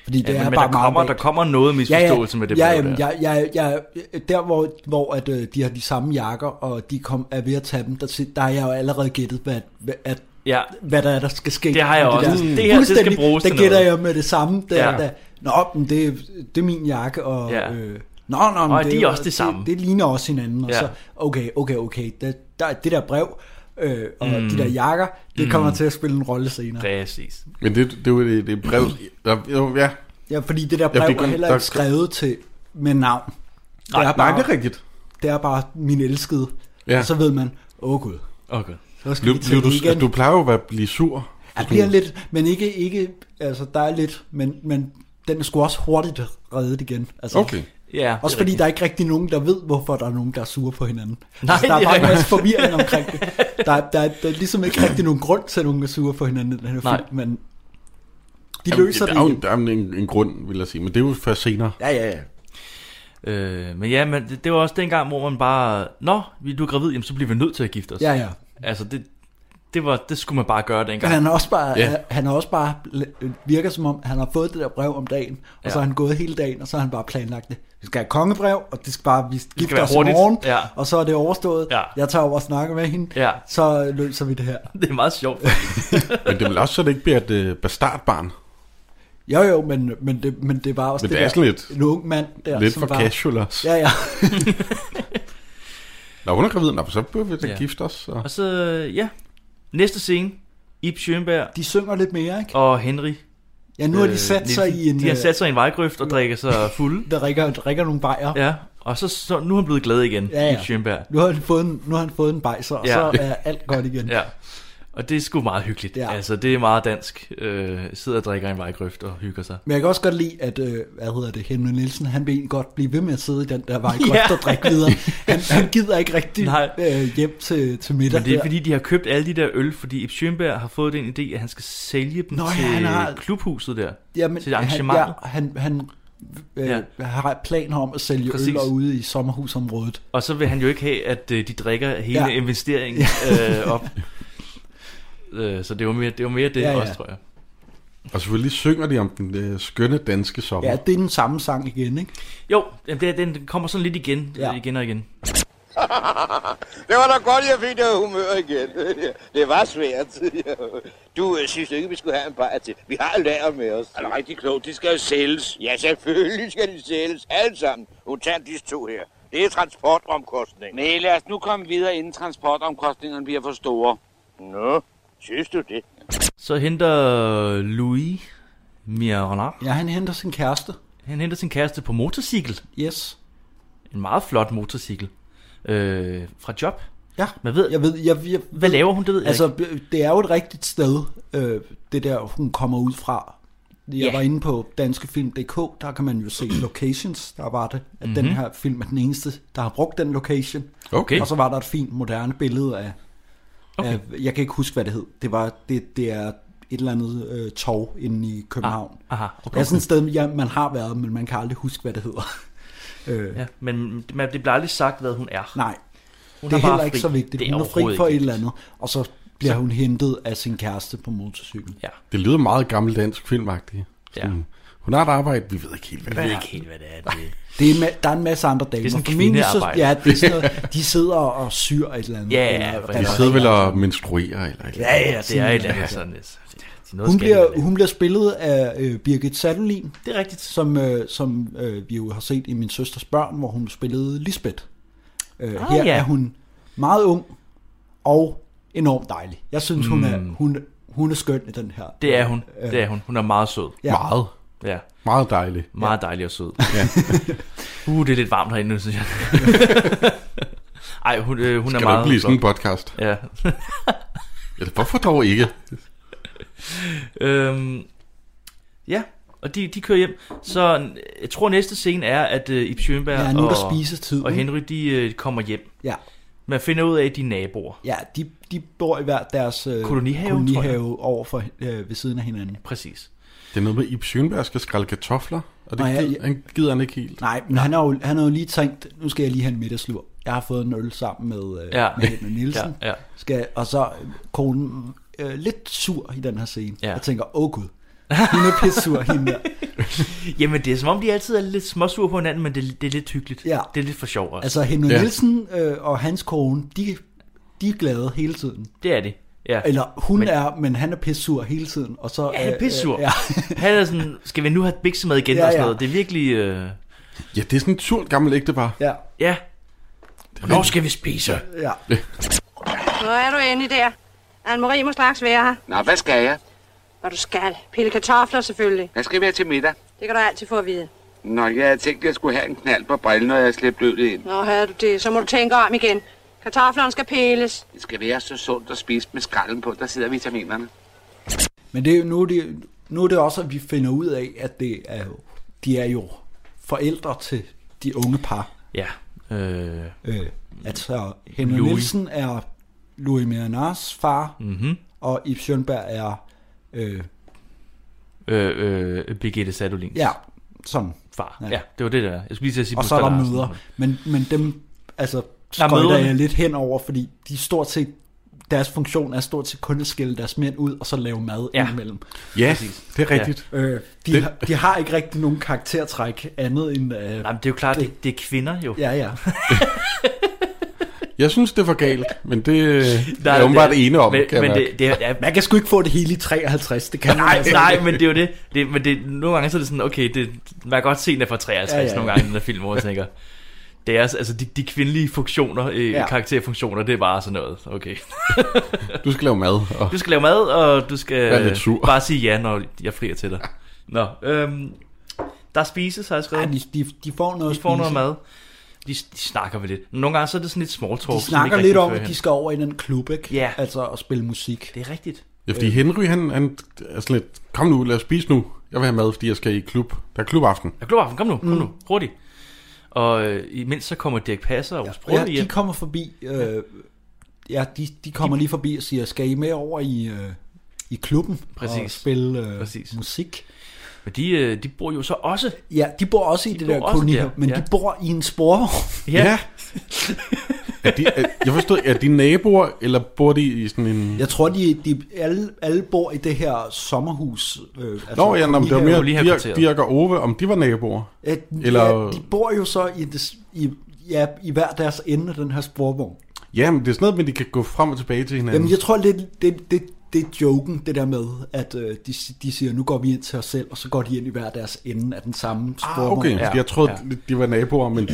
Speaker 3: Fordi det
Speaker 5: Ja,
Speaker 3: er
Speaker 5: men, men
Speaker 3: bare
Speaker 5: der,
Speaker 3: meget
Speaker 5: kommer,
Speaker 3: væk.
Speaker 5: der kommer noget misforståelse med det
Speaker 3: ja,
Speaker 5: brev
Speaker 3: jamen,
Speaker 5: der.
Speaker 3: ja, ja, ja, der hvor, hvor at, øh, de har de samme jakker, og de kom, er ved at tage dem, der, si- der har jeg jo allerede gættet, hvad, hvad, at,
Speaker 5: Ja.
Speaker 3: hvad der er, der skal ske.
Speaker 5: Det har jeg
Speaker 3: med
Speaker 5: også.
Speaker 3: der.
Speaker 5: Det her, det skal
Speaker 3: Fuldstændig.
Speaker 5: bruges
Speaker 3: Der
Speaker 5: til
Speaker 3: gætter
Speaker 5: noget.
Speaker 3: jeg med det samme. Der,
Speaker 5: Ja.
Speaker 3: ja. der, nå, men det, det er min jakke, og...
Speaker 5: Ja.
Speaker 3: Ja. Øh, Nå, nå, men
Speaker 5: Og de er
Speaker 3: jo-
Speaker 5: også det samme.
Speaker 3: Det, det ligner også hinanden. Og
Speaker 5: Ja.
Speaker 3: ja. så, okay, okay, okay. Det, der, det der brev øh, og mm. de der jakker, det kommer til at spille en rolle senere.
Speaker 5: Præcis.
Speaker 4: Men det, det er jo det, det er brev. Der, jo, ja,
Speaker 3: Ja, fordi det der
Speaker 4: Ja,
Speaker 3: brev
Speaker 4: fordi
Speaker 3: er
Speaker 4: kun-
Speaker 3: heller
Speaker 4: der-
Speaker 3: ikke skrevet til med navn. Nej, det er
Speaker 4: nej, det er rigtigt.
Speaker 3: det er bare min elskede.
Speaker 4: Ja.
Speaker 3: Ja. Og så ved man, åh oh, gud,
Speaker 5: Okay.
Speaker 3: så skal
Speaker 4: Blev,
Speaker 3: vi til
Speaker 4: blev
Speaker 3: det
Speaker 4: du,
Speaker 3: igen.
Speaker 4: altså, du plejer jo at være, blive sur.
Speaker 3: Jeg bliver lidt, men ikke, ikke, altså der er lidt, men, men den er sgu også hurtigt reddet igen. Altså,
Speaker 4: Okay.
Speaker 5: Ja,
Speaker 3: Også
Speaker 5: det er
Speaker 3: fordi der er ikke rigtig nogen, der ved, hvorfor der er nogen, der er sure på hinanden.
Speaker 5: Nej,
Speaker 3: altså, der
Speaker 5: det
Speaker 3: er
Speaker 5: er
Speaker 3: bare en
Speaker 5: rigtigt.
Speaker 3: masse forvirring omkring det. Der, er- der, er- der er ligesom ikke rigtig nogen grund til, at nogen er sure på hinanden i den her
Speaker 5: Nej.
Speaker 3: film, men de
Speaker 4: Jamen,
Speaker 3: løser
Speaker 4: der
Speaker 3: det
Speaker 4: er jo
Speaker 3: igen.
Speaker 4: der er jo en, en grund, vil jeg sige. Men det er jo først senere.
Speaker 3: Ja, ja, ja.
Speaker 5: Øh, men ja, men det, det var også dengang, hvor man bare, nå, vi- du er gravid, jamen, så bliver vi nødt til at gifte os.
Speaker 3: ja, ja.
Speaker 5: Altså, det, det, var, det skulle man bare gøre dengang.
Speaker 3: Men han er også bare,
Speaker 4: Ja.
Speaker 3: ja. han er også bare virker som om, han har fået det der brev om dagen, og ja. så
Speaker 5: Ja.
Speaker 3: har han gået hele dagen, og så har han bare planlagt det. Vi skal have kongebrev, og det skal bare, vi gifter
Speaker 5: være
Speaker 3: os i
Speaker 5: hurtigt.
Speaker 3: morgen,
Speaker 5: Ja.
Speaker 3: og så er det overstået.
Speaker 5: Ja.
Speaker 3: Jeg tager over og snakker med hende,
Speaker 5: Ja.
Speaker 3: så løser vi det her.
Speaker 5: Det er meget sjovt.
Speaker 4: Men det er vel også, så det ikke bliver et øh, bastardbarn.
Speaker 3: Jo jo, men, men, det, men det var også
Speaker 4: Men
Speaker 3: det,
Speaker 4: det er
Speaker 3: der,
Speaker 4: sådan lidt-
Speaker 3: en ung mand der,
Speaker 4: Ja, lidt
Speaker 3: som
Speaker 4: for
Speaker 3: var,
Speaker 4: casual også. Ja.
Speaker 3: Ja, ja.
Speaker 4: Når hun er gravid, nå, så bør vi da
Speaker 5: Ja.
Speaker 4: ja. gifte os. Og...
Speaker 5: Og så, ja, næste scene, Ip Schønberg
Speaker 3: De synger lidt mere, ikke?
Speaker 5: og Henry.
Speaker 3: Ja, nu har de
Speaker 5: øh,
Speaker 3: sat sig
Speaker 5: Nielsen,
Speaker 3: i en...
Speaker 5: De har
Speaker 3: øh,
Speaker 5: sat sig i en vejgrøft og drikker sig fulde.
Speaker 3: Der rikker, drikker nogle bajer.
Speaker 5: Ja, og så, så nu er han blevet glad igen,
Speaker 3: Ja, ja.
Speaker 5: Ip Schønberg.
Speaker 3: Nu, har han fået en, nu har han fået en bajser, og
Speaker 5: Ja.
Speaker 3: så er alt godt igen.
Speaker 5: Ja. Og det er sgu meget hyggeligt. Ja.
Speaker 3: Ja.
Speaker 5: Altså, det er meget dansk. Øh, sidder og drikker i en vejgrøft og hygger sig.
Speaker 3: Men jeg kan også godt lide, at, øh, hvad hedder det, Henry Nielsen, han vil egentlig godt blive ved med at sidde i den der vejgrøft
Speaker 5: Ja.
Speaker 3: ja. og drikke videre. Han, han gider ikke rigtig
Speaker 5: Nej.
Speaker 3: øh, hjem til, til middag.
Speaker 5: Men det er
Speaker 3: der.
Speaker 5: fordi, de har købt alle de der øl, fordi Ib Schønberg har fået den idé, at han skal sælge dem Nå,
Speaker 3: Nå, ja,
Speaker 5: til
Speaker 3: han har-
Speaker 5: klubhuset der.
Speaker 3: ja, men,
Speaker 5: til arrangementer.
Speaker 3: Han, ja, han, han øh,
Speaker 5: Ja.
Speaker 3: ja. har planer om at sælge
Speaker 5: Præcis.
Speaker 3: Præcis. øl ude i sommerhusområdet.
Speaker 5: Og så vil han jo ikke have, at øh, de drikker hele ja.
Speaker 3: Ja.
Speaker 5: investeringen øh, op. Øh, så det var mere det, var mere det ja,
Speaker 3: Ja,
Speaker 5: ja.
Speaker 3: ja.
Speaker 5: også, tror jeg.
Speaker 4: og selvfølgelig synger de om den øh, skønne danske sommer.
Speaker 3: Ja,
Speaker 5: Mm.
Speaker 4: Ja.
Speaker 3: det er den samme sang igen, ikke?
Speaker 5: Jo, jamen, det, den kommer sådan lidt igen, ja.
Speaker 3: Ja.
Speaker 5: igen og igen.
Speaker 7: Det var da godt, jeg fik det humør igen. Det var svært. Du øh, synes du ikke, vi skulle have en bajer til. Vi har lager med os. Er det rigtig klogt? De skal jo sælges. Ja, selvfølgelig skal de sælges. Alle sammen. Undtagen disse to her. Det er transportomkostning.
Speaker 6: Nej, lad os nu komme videre, inden transportomkostningerne bliver for store.
Speaker 7: Nå, Synes du det?
Speaker 5: Så henter Louis Mironard.
Speaker 3: Ja, han henter sin kæreste.
Speaker 5: Han henter sin kæreste på motorcykel.
Speaker 3: Yes.
Speaker 5: En meget flot motorcykel. Øh, fra job.
Speaker 3: Ja,
Speaker 5: Man ved,
Speaker 3: jeg ved, jeg, jeg,
Speaker 5: hvad laver hun, det ved jeg
Speaker 3: Altså,
Speaker 5: altså,
Speaker 3: det er jo et rigtigt sted, øh, det der, hun kommer ud fra. Jeg
Speaker 5: Ja.
Speaker 3: var inde på danskefilm.dk, der kan man jo se locations, der var det, at mm-hmm. den her film er den eneste, der har brugt den location.
Speaker 5: Mhm. Okay.
Speaker 3: Og så var der et fint, moderne billede af, okay. af jeg kan ikke huske, hvad det hed. Det, var, det, det er et eller andet øh, tog inde i København.
Speaker 5: Ah, aha, okay.
Speaker 3: Det er sådan et sted, ja, man har været, men man kan aldrig huske, hvad det hedder. øh,
Speaker 5: ikke. Ja, men man, det bliver aldrig sagt, hvad hun er.
Speaker 3: Nej,
Speaker 5: hun
Speaker 3: det er
Speaker 5: bare
Speaker 3: heller ikke
Speaker 5: fri.
Speaker 3: så vigtigt.
Speaker 5: Det
Speaker 3: Hun er fri
Speaker 5: overhovedet
Speaker 3: for et
Speaker 5: ikke
Speaker 3: eller andet, og så bliver hun hentet af sin kæreste på motorcyklen.
Speaker 5: Ja,
Speaker 4: Det lyder meget gammeldansk filmagtigt.
Speaker 5: ja.
Speaker 4: Sådan, Hun har et arbejde, vi ved ikke helt, hvad det
Speaker 5: Jeg ved
Speaker 4: er.
Speaker 5: ikke helt, hvad det er. Det.
Speaker 3: Det er, ma- der er en masse andre damer.
Speaker 5: Det er sådan
Speaker 3: Formentlig
Speaker 5: kvindearbejde.
Speaker 3: Så, ja, det er sådan noget, de sidder og syr et eller andet.
Speaker 5: Ja, ja,
Speaker 3: eller,
Speaker 5: præcis.
Speaker 4: De sidder vel og menstruerer eller et eller
Speaker 5: Ja,
Speaker 4: andet.
Speaker 5: ja, det er et eller andet sådan. Det, det er noget
Speaker 3: hun,
Speaker 5: skal det
Speaker 3: bliver,
Speaker 5: være.
Speaker 3: hun bliver spillet af øh, Birgit Sattelin,
Speaker 5: Det er rigtigt.
Speaker 3: som, øh, som øh, vi jo har set i Min Søsters Børn, hvor hun spillede Lisbeth. Øh,
Speaker 5: Ah,
Speaker 3: her
Speaker 5: ja.
Speaker 3: er hun meget ung og enormt dejlig. Jeg synes, hun, er, hun, hun er skøn i den her.
Speaker 5: Hmm. Det er hun. Det er hun. Hun er meget sød.
Speaker 3: Ja.
Speaker 4: Meget,
Speaker 5: Ja,
Speaker 4: meget dejligt.
Speaker 5: meget dejlig og sød. Ja. uh, det er lidt varmt herinde nu, synes jeg. Ej, hun, øh, hun er
Speaker 4: Kan det
Speaker 5: meget...
Speaker 4: ikke blive sådan en podcast?
Speaker 5: Ja.
Speaker 4: Ja, hvorfor dog ikke?
Speaker 5: Øhm, ja, og de, de kører hjem. Så øh, jeg tror, næste scene er, at øh, Ib Schønberg
Speaker 3: Ja, nu er der
Speaker 5: og,
Speaker 3: spisetid.
Speaker 5: og
Speaker 3: ikke?
Speaker 5: Henry, de øh, kommer hjem.
Speaker 3: Ja,
Speaker 5: Man finder ud af, at de er naboer.
Speaker 3: ja de, de bor i hver deres øh,
Speaker 5: Kolonihave, tror jeg.
Speaker 3: kolonihave over for, øh, ved siden af hinanden.
Speaker 5: Præcis.
Speaker 4: Det er noget med, at Ib Schønberg skal skrælle kartofler, og det
Speaker 3: Nå, ja,
Speaker 4: gider,
Speaker 3: ja.
Speaker 4: han gider han ikke helt.
Speaker 3: Nej, men han har, jo, han har jo lige tænkt, nu skal jeg lige have en middagslur. Jeg har fået en øl sammen med, øh,
Speaker 5: Ja.
Speaker 3: ja. med Henrik
Speaker 5: Ja,
Speaker 3: Nielsen.
Speaker 5: ja.
Speaker 3: Skal, og så øh, konen øh, lidt sur i den her scene.
Speaker 5: Ja.
Speaker 3: Ja. Jeg tænker, åh gud, hun er pissur hende der.
Speaker 5: Jamen, det er som om, de altid er lidt småsure på hinanden, men det, det er lidt hyggeligt.
Speaker 3: Ja.
Speaker 5: Det er lidt for sjov også. Altså,
Speaker 3: Altså Henrik
Speaker 4: Ja.
Speaker 3: ja. Nielsen øh, og hans kone, de, de er glade hele tiden.
Speaker 5: det er det. Ja.
Speaker 3: Eller hun
Speaker 5: Men-
Speaker 3: men, er, men han er pissur hele tiden. Og så,
Speaker 5: Ja, han er
Speaker 3: øh,
Speaker 5: pissur.
Speaker 3: Øh, ja.
Speaker 5: Han er sådan, skal vi nu have biksemad igen
Speaker 3: Ja,
Speaker 5: ja, og sådan
Speaker 3: ja.
Speaker 5: noget. Det er virkelig, øh,
Speaker 4: Ja, det er sådan et surt gammelt ægtepar.
Speaker 3: ja,
Speaker 5: ja. Hvornår skal vi spise?
Speaker 3: ja.
Speaker 8: Så er du endelig der. Anne-Marie må straks være her.
Speaker 6: Nå, hvad skal jeg?
Speaker 8: Når du skal. Pille kartofler selvfølgelig.
Speaker 6: Hvad skal vi have til middag?
Speaker 8: Det kan du altid få at vide.
Speaker 6: Nå, jeg havde tænkt, at jeg skulle have en knald på brillen, når jeg slæbte ølet ind.
Speaker 8: Nå, havde du det, så må du tænke om igen. Kartoflerne skal pilles.
Speaker 6: Det skal være så sundt at spise med skralden på, der sidder vitaminerne.
Speaker 3: Men det er, jo- nu, er det, nu er det også, at vi finder ud af, at det er, jo- de er jo forældre til de unge par.
Speaker 5: Ja. Øh,
Speaker 3: Øh, altså, Henry
Speaker 5: Louis.
Speaker 3: Louis. Nielsen er Louis Mianars far,
Speaker 5: Mhm.
Speaker 3: mm-hmm. og Ib Schønberg er, øh,
Speaker 5: øh, øh, Birgitte Sadolins
Speaker 3: ja, sådan.
Speaker 5: far. Ja.
Speaker 3: Ja.
Speaker 5: ja. det var det der. Jeg skulle lige til at sige
Speaker 3: Og så er der
Speaker 5: Buster Larsen.
Speaker 3: møder, men, men dem, altså,
Speaker 5: altså. Der er
Speaker 3: skøjter
Speaker 5: mødrene.
Speaker 3: jeg lidt hen over, fordi de stort set, deres funktion er stort set kun at skille deres mænd ud, og så lave mad
Speaker 5: Ja.
Speaker 3: ja. imellem.
Speaker 4: Ja, det er rigtigt.
Speaker 3: Øh, de,
Speaker 4: Det-
Speaker 3: har- de har ikke rigtig nogen karaktertræk andet end, øh,
Speaker 5: Nej, men det er jo klart, det, det er kvinder jo.
Speaker 3: ja, ja.
Speaker 4: Jeg synes, det var galt, men det øh, er
Speaker 5: Nej,
Speaker 4: jeg åbenbart ene om,
Speaker 5: men,
Speaker 4: kan
Speaker 5: men
Speaker 4: jeg
Speaker 5: det,
Speaker 4: det...
Speaker 5: det, er, ja,
Speaker 3: Man kan sgu ikke få det hele i 53, det kan man
Speaker 5: Nej,
Speaker 3: altså
Speaker 5: nej,
Speaker 3: ikke.
Speaker 5: men det er jo det. det men det, nogle gange så er det sådan, okay, det, man kan godt se, den er fra 53 ja, ja, ja. nogle gange, den der film, hvor jeg tænker, det er, altså de, de kvindelige funktioner, øh, ja.
Speaker 3: Ja.
Speaker 5: karakterfunktioner, det er bare sådan noget, okay.
Speaker 4: Du skal lave mad, og
Speaker 5: Du skal lave mad, og du skal
Speaker 4: Vær lidt sur.
Speaker 5: bare sige ja, når jeg frier til dig. Nå, øhm, der spises, har jeg skrevet.
Speaker 3: Ej, de, de, de får noget
Speaker 5: de får
Speaker 3: at
Speaker 5: noget
Speaker 3: spise.
Speaker 5: mad. De, de snakker vel lidt. Nogle gange så er det sådan lidt small talk.
Speaker 3: De
Speaker 5: som
Speaker 3: snakker
Speaker 5: ikke
Speaker 3: lidt
Speaker 5: rigtig
Speaker 3: om,
Speaker 5: fører
Speaker 3: at
Speaker 5: hen.
Speaker 3: de skal over i den klub, ikke?
Speaker 5: Ja.
Speaker 3: Altså at spille musik.
Speaker 5: Det er rigtigt.
Speaker 4: Ja, fordi Henry, han, han er sådan lidt, kom nu, lad os spise nu. Jeg vil have mad, fordi jeg skal i klub. Der er klubaften.
Speaker 5: Jeg klubaften, kom nu, kom
Speaker 3: Mm.
Speaker 5: nu, hurtigt. Og øh, imens så kommer Dirk Passer og Osbrød ja,
Speaker 3: Ja, de
Speaker 5: hjem.
Speaker 3: kommer forbi. Øh, ja, de, de kommer lige forbi og siger, skal I med over i, øh, i klubben
Speaker 5: Præcis.
Speaker 3: og spille øh,
Speaker 5: Præcis.
Speaker 3: musik?
Speaker 5: Men de, øh, de bor jo så også.
Speaker 3: Ja, de bor også i
Speaker 5: De
Speaker 3: det
Speaker 5: bor
Speaker 3: der
Speaker 5: også
Speaker 3: kolonier,
Speaker 5: der,
Speaker 3: men
Speaker 5: ja.
Speaker 3: de bor i en sporvogn.
Speaker 4: Ja. er de, er, jeg forstod, er de naboer, eller bor de i sådan en...
Speaker 3: Jeg tror, de, de alle, alle bor i det her sommerhus. Øh, altså,
Speaker 4: Nå, ja, nå, men det var
Speaker 3: kolonihave.
Speaker 4: mere
Speaker 5: lige have
Speaker 4: Dirk,
Speaker 5: kvarteret.
Speaker 4: Dirk og Ove, om de var naboer.
Speaker 3: Ja,
Speaker 4: Eller-
Speaker 3: Eller... ja, de bor jo så i, det, i, ja, i hver deres ende af den her sporvogn.
Speaker 4: Ja, men det er sådan noget, men de kan gå frem og tilbage til hinanden.
Speaker 3: Jamen, jeg tror lidt, det, det, det er joken, det der med, at øh, de, de siger, nu går vi ind til os selv, og så går de ind i hver deres ende af den samme
Speaker 4: ah,
Speaker 3: sporvogn.
Speaker 4: okay,
Speaker 5: Ja,
Speaker 4: ja, jeg troede,
Speaker 5: ja.
Speaker 3: Mm.
Speaker 4: ja. de var naboer, men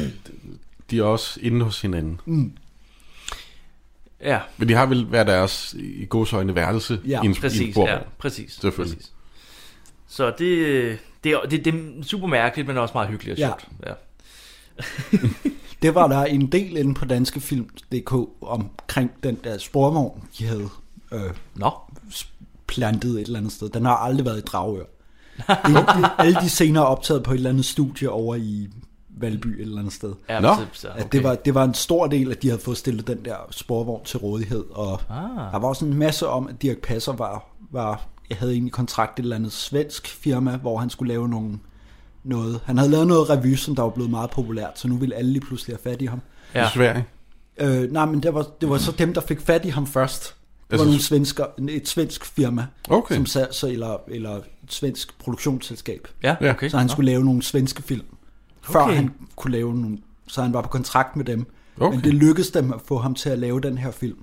Speaker 4: de er også inde hos hinanden.
Speaker 5: Ja,
Speaker 4: Men de har vel hver deres i godsøjne værelse
Speaker 3: Ja,
Speaker 4: i en, i en
Speaker 5: præcis.
Speaker 4: bord.
Speaker 5: Ja, præcis.
Speaker 4: Selvfølgelig.
Speaker 5: Præcis. Så det, det, er, det, det er super mærkeligt, men også meget hyggeligt og
Speaker 3: Ja.
Speaker 5: sjovt. Ja.
Speaker 3: Det var der en del inde på danskefilm.dk omkring den der sporvogn, de havde øh,
Speaker 5: Nå,
Speaker 3: plantet et eller andet sted. Den har aldrig været i Dragør. Det er alle de senere optaget på et eller andet studie over i Valby et eller andet sted.
Speaker 5: ja,
Speaker 4: Nå,
Speaker 5: så, så, okay.
Speaker 3: At det, var, det var en stor del, at de havde fået stillet den der sporvogn til rådighed, og ah. der var også en masse om, at Dirk Passer var, var jeg havde egentlig kontrakt et eller andet svensk firma, hvor han skulle lave nogle, noget. Han havde lavet noget revy, som der var blevet meget populært, så nu ville alle lige pludselig have fat i ham.
Speaker 5: Ja.
Speaker 4: I Sverige.
Speaker 3: Øh, nej, men det var, det var så dem, der fik fat i ham først. Det var
Speaker 4: Altså-
Speaker 3: nogle svensker, et svensk firma,
Speaker 4: Okay.
Speaker 3: som sad, så, eller, eller et svensk produktionsselskab.
Speaker 5: Ja,
Speaker 4: Ja.
Speaker 5: okay.
Speaker 3: Så han
Speaker 5: Nå.
Speaker 3: skulle lave nogle svenske film, før
Speaker 5: Okay.
Speaker 3: han kunne lave nogle, så han var på kontrakt med dem.
Speaker 4: Okay.
Speaker 3: Men det lykkedes dem at få ham til at lave den her film,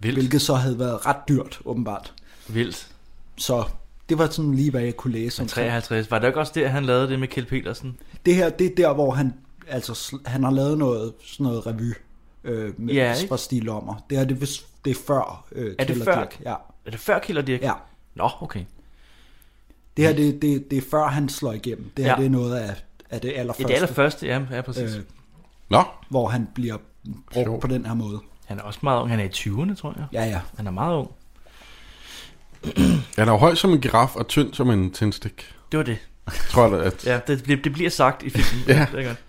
Speaker 5: Vildt.
Speaker 3: hvilket så havde været ret dyrt, åbenbart.
Speaker 5: Vildt.
Speaker 3: Så det var sådan lige, hvad jeg kunne læse om.
Speaker 5: 53. Var det ikke også der, han lavede det med Kjeld Petersen?
Speaker 3: Det her, det er der, hvor han, altså, sl- han har lavet noget, sådan noget revy øh, med,
Speaker 5: Ja,
Speaker 3: ja,
Speaker 5: ikke?
Speaker 3: fra Stig Lommer. Det er, det, vist- det er før øh,
Speaker 5: Er det
Speaker 3: Kjeld og
Speaker 5: før?
Speaker 3: Dirch. Ja.
Speaker 5: Er det før Kjeld og Dirk?
Speaker 3: ja.
Speaker 5: Nå, okay.
Speaker 3: Det her, det, det, det er før han slår igennem. Det her,
Speaker 5: Ja.
Speaker 3: ja. det er noget af, af det
Speaker 5: Ja,
Speaker 3: allerførste,
Speaker 5: det allerførste, ja, ja præcis.
Speaker 3: øh,
Speaker 4: Nå,
Speaker 3: hvor han bliver brugt
Speaker 4: Sjovt.
Speaker 3: på den her måde.
Speaker 5: Han er også meget ung. Han er i 20'erne, tror jeg.
Speaker 3: Ja, ja.
Speaker 5: Han er meget ung.
Speaker 4: han er jo høj som en giraf og tynd som en tændstik.
Speaker 5: Det var det.
Speaker 4: Tror jeg, at...
Speaker 5: Ja, det, bliver- det bliver sagt i filmen.
Speaker 4: Ja.
Speaker 5: Det er godt.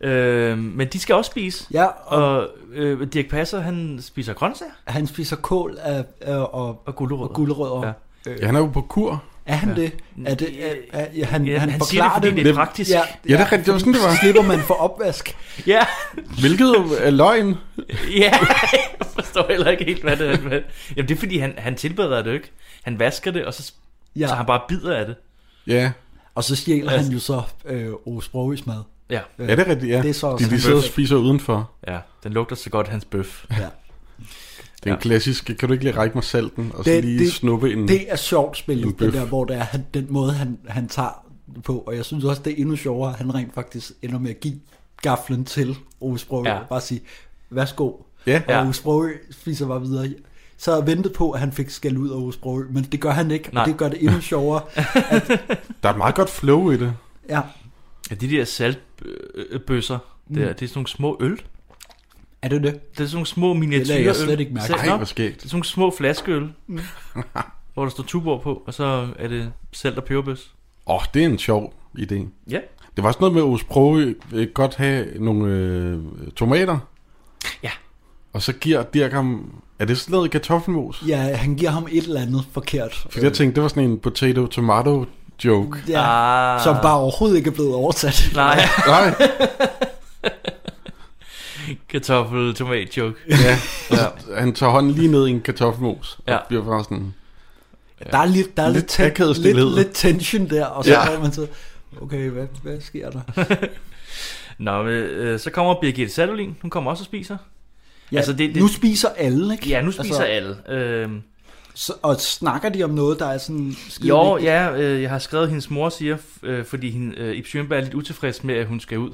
Speaker 5: Øh, men de skal også spise.
Speaker 3: Ja, og
Speaker 5: Og øh, Dirk Passer, han spiser grøntsager
Speaker 3: han spiser kål af, af, og,
Speaker 5: og gulerødder.
Speaker 3: og gulerødder.
Speaker 5: Ja.
Speaker 3: Ja.
Speaker 4: ja, han er jo på kur.
Speaker 3: Er han
Speaker 5: Ja.
Speaker 3: ja. det? Er det er, er, er, han,
Speaker 5: Ja,
Speaker 3: han,
Speaker 5: han siger det,
Speaker 3: forklarer
Speaker 5: fordi det, er
Speaker 4: Hvem-
Speaker 5: praktisk.
Speaker 3: Ja,
Speaker 5: Ja.
Speaker 4: Ja, det er rigtigt. Det var sådan, det var.
Speaker 3: Slipper man for opvask?
Speaker 5: ja.
Speaker 4: Hvilket jo er løgn.
Speaker 5: Ja, jeg forstår heller ikke helt, hvad det er. Hvad... Jamen, det er fordi, han, han tilbereder det jo ikke. Han vasker det, og så, ja.
Speaker 3: Ja.
Speaker 5: så han bare bider af det.
Speaker 4: Ja,
Speaker 3: Og så stjæler han jo så øh, Ove Sprogøs mad.
Speaker 5: Ja,
Speaker 4: ja det er rigtigt, ja.
Speaker 3: Det er så også
Speaker 4: de, de
Speaker 3: en
Speaker 4: sidder og
Speaker 3: bøf.
Speaker 4: spiser udenfor.
Speaker 5: ja. Den lugter så godt, hans bøf.
Speaker 3: Ja.
Speaker 4: Det er en
Speaker 5: Ja.
Speaker 4: klassisk, kan du ikke lige række mig salten, og så
Speaker 3: Det-
Speaker 4: lige
Speaker 3: det-
Speaker 4: snuppe en...
Speaker 3: Det er sjovt
Speaker 4: En
Speaker 3: spillet,
Speaker 4: bøf.
Speaker 3: det der, hvor det er han, den måde, han, han tager det på. Og jeg synes også, det er endnu sjovere, at han rent faktisk ender med at give gaflen til Ove Sprogø.
Speaker 5: Ja.
Speaker 3: Ja. Bare sige, værsgo.
Speaker 4: Ja.
Speaker 3: Og
Speaker 5: Ja.
Speaker 3: Ove Sprogø spiser bare videre. Så jeg ventet på, at han fik skæld ud af Ove Sprogø, men det gør han ikke,
Speaker 5: Nej.
Speaker 3: og det gør det endnu sjovere.
Speaker 4: Der er et meget godt flow i det.
Speaker 3: Ja.
Speaker 5: Ja, de der saltbøsser, mm. det, er, det er sådan nogle små øl.
Speaker 3: Er det det?
Speaker 5: Det er sådan nogle små miniatyrøl.
Speaker 3: lagde jeg slet ikke mærke
Speaker 5: Selv-
Speaker 4: Ej,
Speaker 5: Nå,
Speaker 4: hvor skægt.
Speaker 5: Det er sådan nogle små flaskeøl,
Speaker 3: Mm.
Speaker 5: hvor der står Tuborg på, og så er det salt og peberbøs.
Speaker 4: Åh, oh, det er en sjov idé.
Speaker 5: Ja.
Speaker 4: Det var sådan noget med, at Osprogø øh, godt have nogle øh, tomater.
Speaker 5: Ja.
Speaker 4: Og så giver Dirk ham... Er det sådan noget kartoffelmos?
Speaker 3: Ja, han giver ham et eller andet forkert.
Speaker 4: Fordi jeg tænkte, det var sådan en potato-tomato joke.
Speaker 3: Ja,
Speaker 5: Ah.
Speaker 3: som bare overhovedet ikke er blevet oversat.
Speaker 5: Nej,
Speaker 4: Nej,
Speaker 5: kartoffel, tomat, joke.
Speaker 4: ja. Altså, han tager hånden lige ned i en kartoffelmos.
Speaker 5: Ja.
Speaker 4: Og bliver bare sådan...
Speaker 3: Der er lidt, der er
Speaker 4: Lidt
Speaker 3: lidt, ten,
Speaker 4: akavet stilhed.
Speaker 3: lidt, lidt tension der, og så
Speaker 4: Ja.
Speaker 3: ja. man så, okay, hvad, hvad sker der?
Speaker 5: Nå, men, øh, så kommer Birgitte Sadolin, hun kommer også og spiser.
Speaker 3: Ja,
Speaker 5: Altså, det- det-
Speaker 3: Nu spiser alle, ikke?
Speaker 5: Ja, nu spiser altså, alle. Øh,
Speaker 3: Så, og snakker de om noget, der er sådan skide
Speaker 5: jo,
Speaker 3: vigtigt?
Speaker 5: ja, øh, jeg har skrevet, at hendes mor siger, f- øh, fordi hende, øh, Ib Schønberg er lidt utilfreds med, at hun skal ud.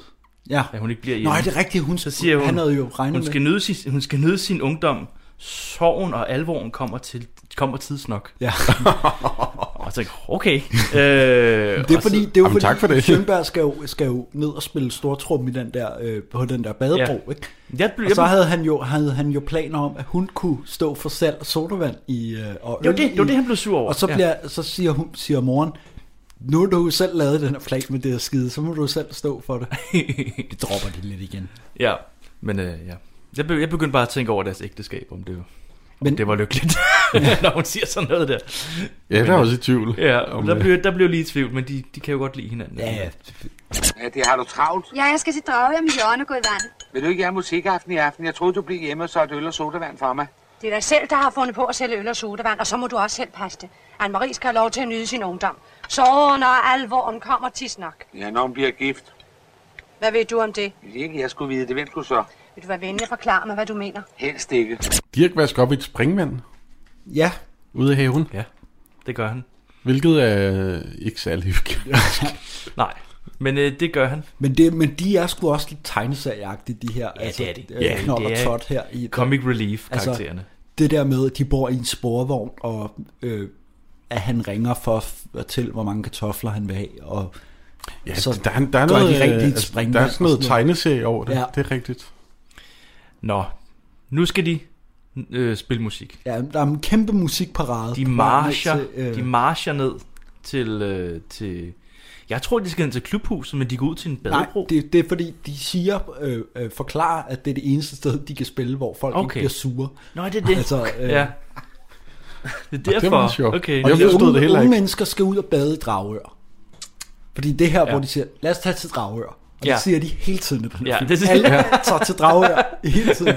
Speaker 3: ja.
Speaker 5: At hun ikke bliver
Speaker 3: Nå,
Speaker 5: hjemme.
Speaker 3: er det rigtigt? Hun,
Speaker 5: Så siger hun,
Speaker 3: han havde jo regnet
Speaker 5: hun, skal
Speaker 3: med.
Speaker 5: nyde sin, hun skal nyde sin ungdom. Sorgen og alvoren kommer, til, kommer tidsnok.
Speaker 3: Ja.
Speaker 5: Og jeg tænkte, okay. øh,
Speaker 3: Det er fordi,
Speaker 5: og Så,
Speaker 3: det er jo
Speaker 4: Jamen,
Speaker 3: fordi,
Speaker 4: tak for det.
Speaker 3: Schønberg skal jo, skal jo ned og spille stortrum i den der, øh, på den der badebro, ja. ikke?
Speaker 5: jeg, blev,
Speaker 3: Og så
Speaker 5: jeg,
Speaker 3: havde han jo, havde han jo planer om, at hun kunne stå for salg af sodavand i, øh, og
Speaker 5: jo,
Speaker 3: øl
Speaker 5: det,
Speaker 3: i,
Speaker 5: jo, det han blev sur over.
Speaker 3: Og så,
Speaker 5: Ja.
Speaker 3: bliver, ja. så siger, hun, siger moren, nu har du jo selv lavet den her plan med det her skide, så må du jo selv stå for det. det dropper de lidt igen.
Speaker 5: Ja, men øh, ja. Jeg, be, jeg begyndte bare at tænke over deres ægteskab, om det, men, om
Speaker 3: Men-
Speaker 5: det var lykkeligt, når hun siger sådan noget der.
Speaker 4: Ja, der er også i tvivl.
Speaker 5: Ja,
Speaker 4: om,
Speaker 5: der,
Speaker 4: øh,
Speaker 5: blev, der blev lige i tvivl, men de, de kan jo godt lide hinanden.
Speaker 3: Ja, ja.
Speaker 2: Ja, det har du travlt.
Speaker 9: Ja, jeg skal se drage om hjørnet og gå i vand.
Speaker 2: Vil du ikke have musikaften i aften? Jeg troede, du blev hjemme og solgte øl og sodavand for mig.
Speaker 8: Det er dig selv, der har fundet på at sælge øl og sodavand, og så må du også selv passe det. Anne-Marie skal have lov til at nyde sin ungdom. Sorgen og alvoren kommer tidsnok.
Speaker 2: Ja, når hun bliver gift.
Speaker 8: Hvad ved du om det?
Speaker 2: Hvis ikke jeg skulle vide det, hvem skulle så?
Speaker 8: Vil du være venlig at forklare mig, hvad du mener?
Speaker 2: Helst ikke.
Speaker 4: Dirk vasker op i et springvand
Speaker 3: ja,
Speaker 4: ude i haven,
Speaker 5: Det gør han.
Speaker 4: hvilket er ikke særlig hyggeligt.
Speaker 5: Nej, Men øh, det gør han.
Speaker 3: Men, det, men de er sgu også lidt tegneserieagtige, de her.
Speaker 5: Ja, det er de.
Speaker 3: øh,
Speaker 5: Ja,
Speaker 3: Knold
Speaker 5: det
Speaker 3: og
Speaker 5: er
Speaker 3: tot her. I,
Speaker 5: Comic Relief-karaktererne. Altså,
Speaker 3: det der med, at de bor i en sporvogn, og øh, at han ringer for at fortælle, hvor mange kartofler han vil have, og
Speaker 4: Ja,
Speaker 3: Så
Speaker 4: så der, er- der er
Speaker 3: gør
Speaker 4: noget,
Speaker 3: de rigtig
Speaker 4: øh,
Speaker 3: et
Speaker 4: altså,
Speaker 3: springvand
Speaker 4: der er
Speaker 3: og
Speaker 4: sådan noget
Speaker 3: sådan noget.
Speaker 4: tegneserie over det.
Speaker 3: Ja.
Speaker 4: Ja. Det er rigtigt.
Speaker 5: Nå, nu skal de øh, spille musik.
Speaker 3: ja, der er en kæmpe musikparade.
Speaker 5: De
Speaker 3: på vej ned
Speaker 5: marcher,
Speaker 3: til, øh,
Speaker 5: de marcher ned til, øh, til... Jeg tror, de skal hen til klubhuset, men de går ud til en
Speaker 3: Nej,
Speaker 5: badebro.
Speaker 3: det, det er fordi, de siger, øh, øh, forklarer, at det er det eneste sted, de kan spille, hvor folk okay. ikke
Speaker 5: Okay.
Speaker 3: bliver sure.
Speaker 5: Nå, det er det.
Speaker 3: Altså, øh,
Speaker 5: ja. Det er derfor.
Speaker 4: meget sjovt.
Speaker 5: Okay.
Speaker 4: Jeg
Speaker 3: Og de
Speaker 4: forstod
Speaker 3: unge,
Speaker 4: det heller
Speaker 3: unge
Speaker 4: ikke.
Speaker 3: mennesker skal ud og bade i Dragør. Fordi det her, ja.
Speaker 5: Ja.
Speaker 3: hvor de siger, lad os tage til Dragør. Og ja.
Speaker 5: Ja.
Speaker 3: det siger de hele tiden i den her
Speaker 5: Ja,
Speaker 3: film.
Speaker 5: det siger-
Speaker 3: Alle tager til Dragør hele tiden.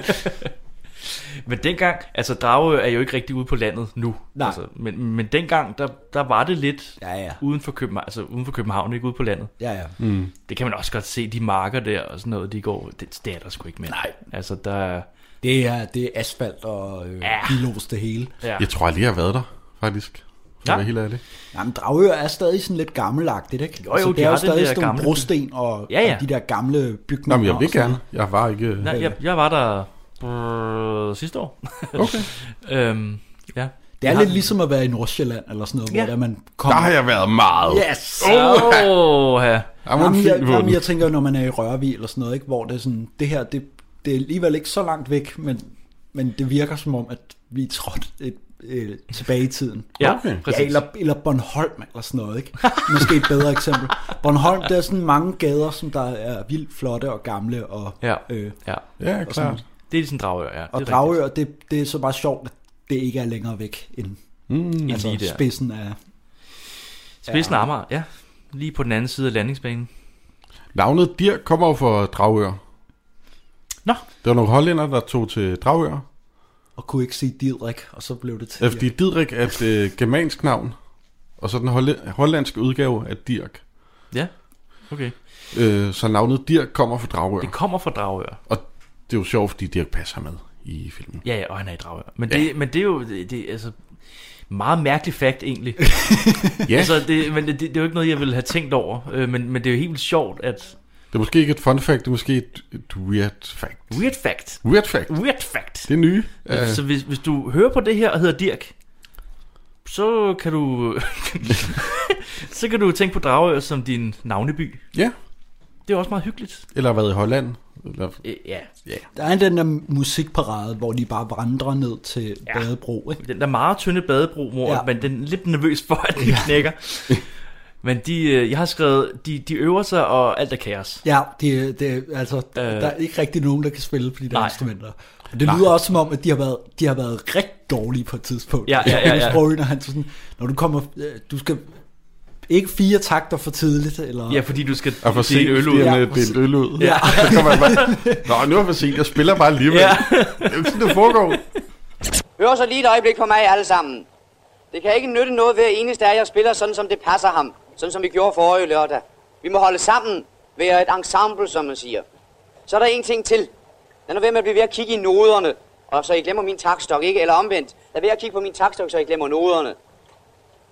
Speaker 5: Men dengang, altså Dragø er jo ikke rigtig ude på landet nu.
Speaker 3: Nej.
Speaker 5: Altså, men, men dengang, der, der var det lidt
Speaker 3: Ja, ja.
Speaker 5: uden, for København, altså uden for København, ikke ude på landet.
Speaker 3: Ja, ja.
Speaker 5: Det kan man også godt se, de marker der og sådan noget, de går, det, det er der sgu ikke mere. Nej. Altså der er-
Speaker 3: Det er, det er asfalt og øh,
Speaker 5: Ja.
Speaker 3: bilos det hele.
Speaker 5: ja.
Speaker 4: Jeg tror aldrig, jeg har været der, faktisk. For
Speaker 5: Ja.
Speaker 4: ja. være helt ærlig.
Speaker 3: Jamen, Dragør er stadig sådan lidt gammelagtigt, ikke? Altså,
Speaker 5: jo,
Speaker 3: det
Speaker 5: de
Speaker 3: er
Speaker 5: har
Speaker 3: jo
Speaker 5: den
Speaker 3: stadig
Speaker 5: der
Speaker 3: sådan nogle
Speaker 5: gamle by.
Speaker 3: brosten og,
Speaker 5: Ja, ja.
Speaker 3: og de der gamle bygninger.
Speaker 4: Nå, men jeg
Speaker 3: og
Speaker 4: vil
Speaker 3: sådan
Speaker 4: gerne. Jeg var ikke...
Speaker 5: Nej, jeg, jeg var der brrr, sidste år.
Speaker 4: Okay.
Speaker 5: øhm,
Speaker 3: Det
Speaker 5: ja.
Speaker 3: er
Speaker 5: Jeg
Speaker 3: lidt
Speaker 5: har-
Speaker 3: ligesom at være i Nordsjælland eller sådan noget, ja.
Speaker 5: Ja.
Speaker 3: hvor der man
Speaker 4: Der
Speaker 3: kommer...
Speaker 4: har jeg været meget.
Speaker 3: Yes!
Speaker 5: Åh, ja.
Speaker 4: Jeg var en
Speaker 3: Jamen, jeg,
Speaker 4: fil på
Speaker 3: jamen,
Speaker 4: den.
Speaker 3: jeg tænker, når man er i Rørvig eller sådan noget, ikke, hvor det er sådan, det her, det, det er alligevel ikke så langt væk, men, men det virker som om, at vi er trådt et, øh, tilbage i tiden.
Speaker 5: Ja,
Speaker 4: Okay.
Speaker 5: præcis.
Speaker 3: Ja, eller, eller Bornholm eller sådan noget, ikke? Måske et bedre eksempel. Bornholm, der er sådan mange gader, som der er vildt flotte og gamle, og,
Speaker 5: Ja.
Speaker 3: øh,
Speaker 5: ja.
Speaker 4: Ja, klart.
Speaker 5: Det er ligesom Dragør, ja.
Speaker 3: og
Speaker 5: det er rigtigt.
Speaker 3: Dragør, det, det er så bare sjovt, at det ikke er længere væk end
Speaker 4: Mm.
Speaker 5: End lige
Speaker 3: altså,
Speaker 5: der.
Speaker 3: spidsen af...
Speaker 5: Spidsen af Amager, ja. Lige på den anden side af landingsbanen.
Speaker 4: Navnet Dir kommer jo fra Dragør.
Speaker 5: Nå.
Speaker 4: Der var nogle hollænder, der tog til Dragør,
Speaker 3: Og kunne ikke se Didrik, og så blev det til...
Speaker 4: ja. fordi Didrik er et øh, germansk navn, og så den holle- hollandske udgave af Dirk.
Speaker 5: Ja, okay.
Speaker 4: Øh, så navnet Dirk kommer fra Dragør,
Speaker 5: Det kommer fra Dragør.
Speaker 4: og det er jo sjovt, fordi Dirk passer med i filmen.
Speaker 5: Ja, ja, og han er i Dragør. Men det, men det er jo det, det, er altså, meget mærkelig fakt egentlig.
Speaker 4: Ja,
Speaker 5: altså, det, men det, det, er jo ikke noget, jeg ville have tænkt over. Øh, men, men det er jo helt vildt sjovt, at...
Speaker 4: det er måske ikke et fun fact, det er måske et, et weird fact.
Speaker 5: Weird fact.
Speaker 4: Weird fact.
Speaker 5: Weird fact.
Speaker 4: Det er nye.
Speaker 5: Øh.
Speaker 4: Øh,
Speaker 5: Så hvis, hvis du hører på det her og hedder Dirk, så kan du så kan du tænke på Dragør som din navneby.
Speaker 4: ja,
Speaker 5: Det er også meget hyggeligt.
Speaker 4: eller har været i Holland. Eller,
Speaker 5: Øh, ja,
Speaker 3: Der er den der musikparade, hvor de bare vandrer ned til ja. Badebro, ikke?
Speaker 5: den der meget tynde badebro, hvor
Speaker 3: Ja.
Speaker 5: ja. man den er lidt nervøs for, at den ja. knækker. Men de, øh, jeg har skrevet, de, de øver sig, og alt er kaos.
Speaker 3: Ja, det, det, altså, øh, der er ikke rigtig nogen, der kan spille på de der nej.
Speaker 5: Nej.
Speaker 3: instrumenter. Og det lyder også som om, at de har været, de har været rigtig dårlige på et tidspunkt.
Speaker 5: Ja, ja, ja, ja.
Speaker 3: Sprogøen, og han sådan, når du kommer, øh, du skal ikke fire takter for tidligt, eller...
Speaker 5: Ja, fordi du skal
Speaker 4: og for sent,
Speaker 5: dele øl ud.
Speaker 4: det er
Speaker 3: Ja,
Speaker 4: en, øh, delt øl ud.
Speaker 3: Ja.
Speaker 4: Så kommer jeg bare, Nå, nu er jeg for sent, jeg spiller bare alligevel.
Speaker 5: Ja.
Speaker 4: Ja. Det er jo ikke sådan, det foregår.
Speaker 10: Hør så lige et øjeblik på mig alle sammen. Det kan ikke nytte noget ved, at eneste af jer spiller sådan, som det passer ham. Sådan som vi gjorde forrige lørdag. Vi må holde sammen. Være et ensemble, som man siger. Så er der en ting til. Lad nu være med at blive ved at kigge i noderne. Og så I glemmer min takstok, ikke? Eller omvendt. Lad være at kigge på min takstok, så I glemmer noderne.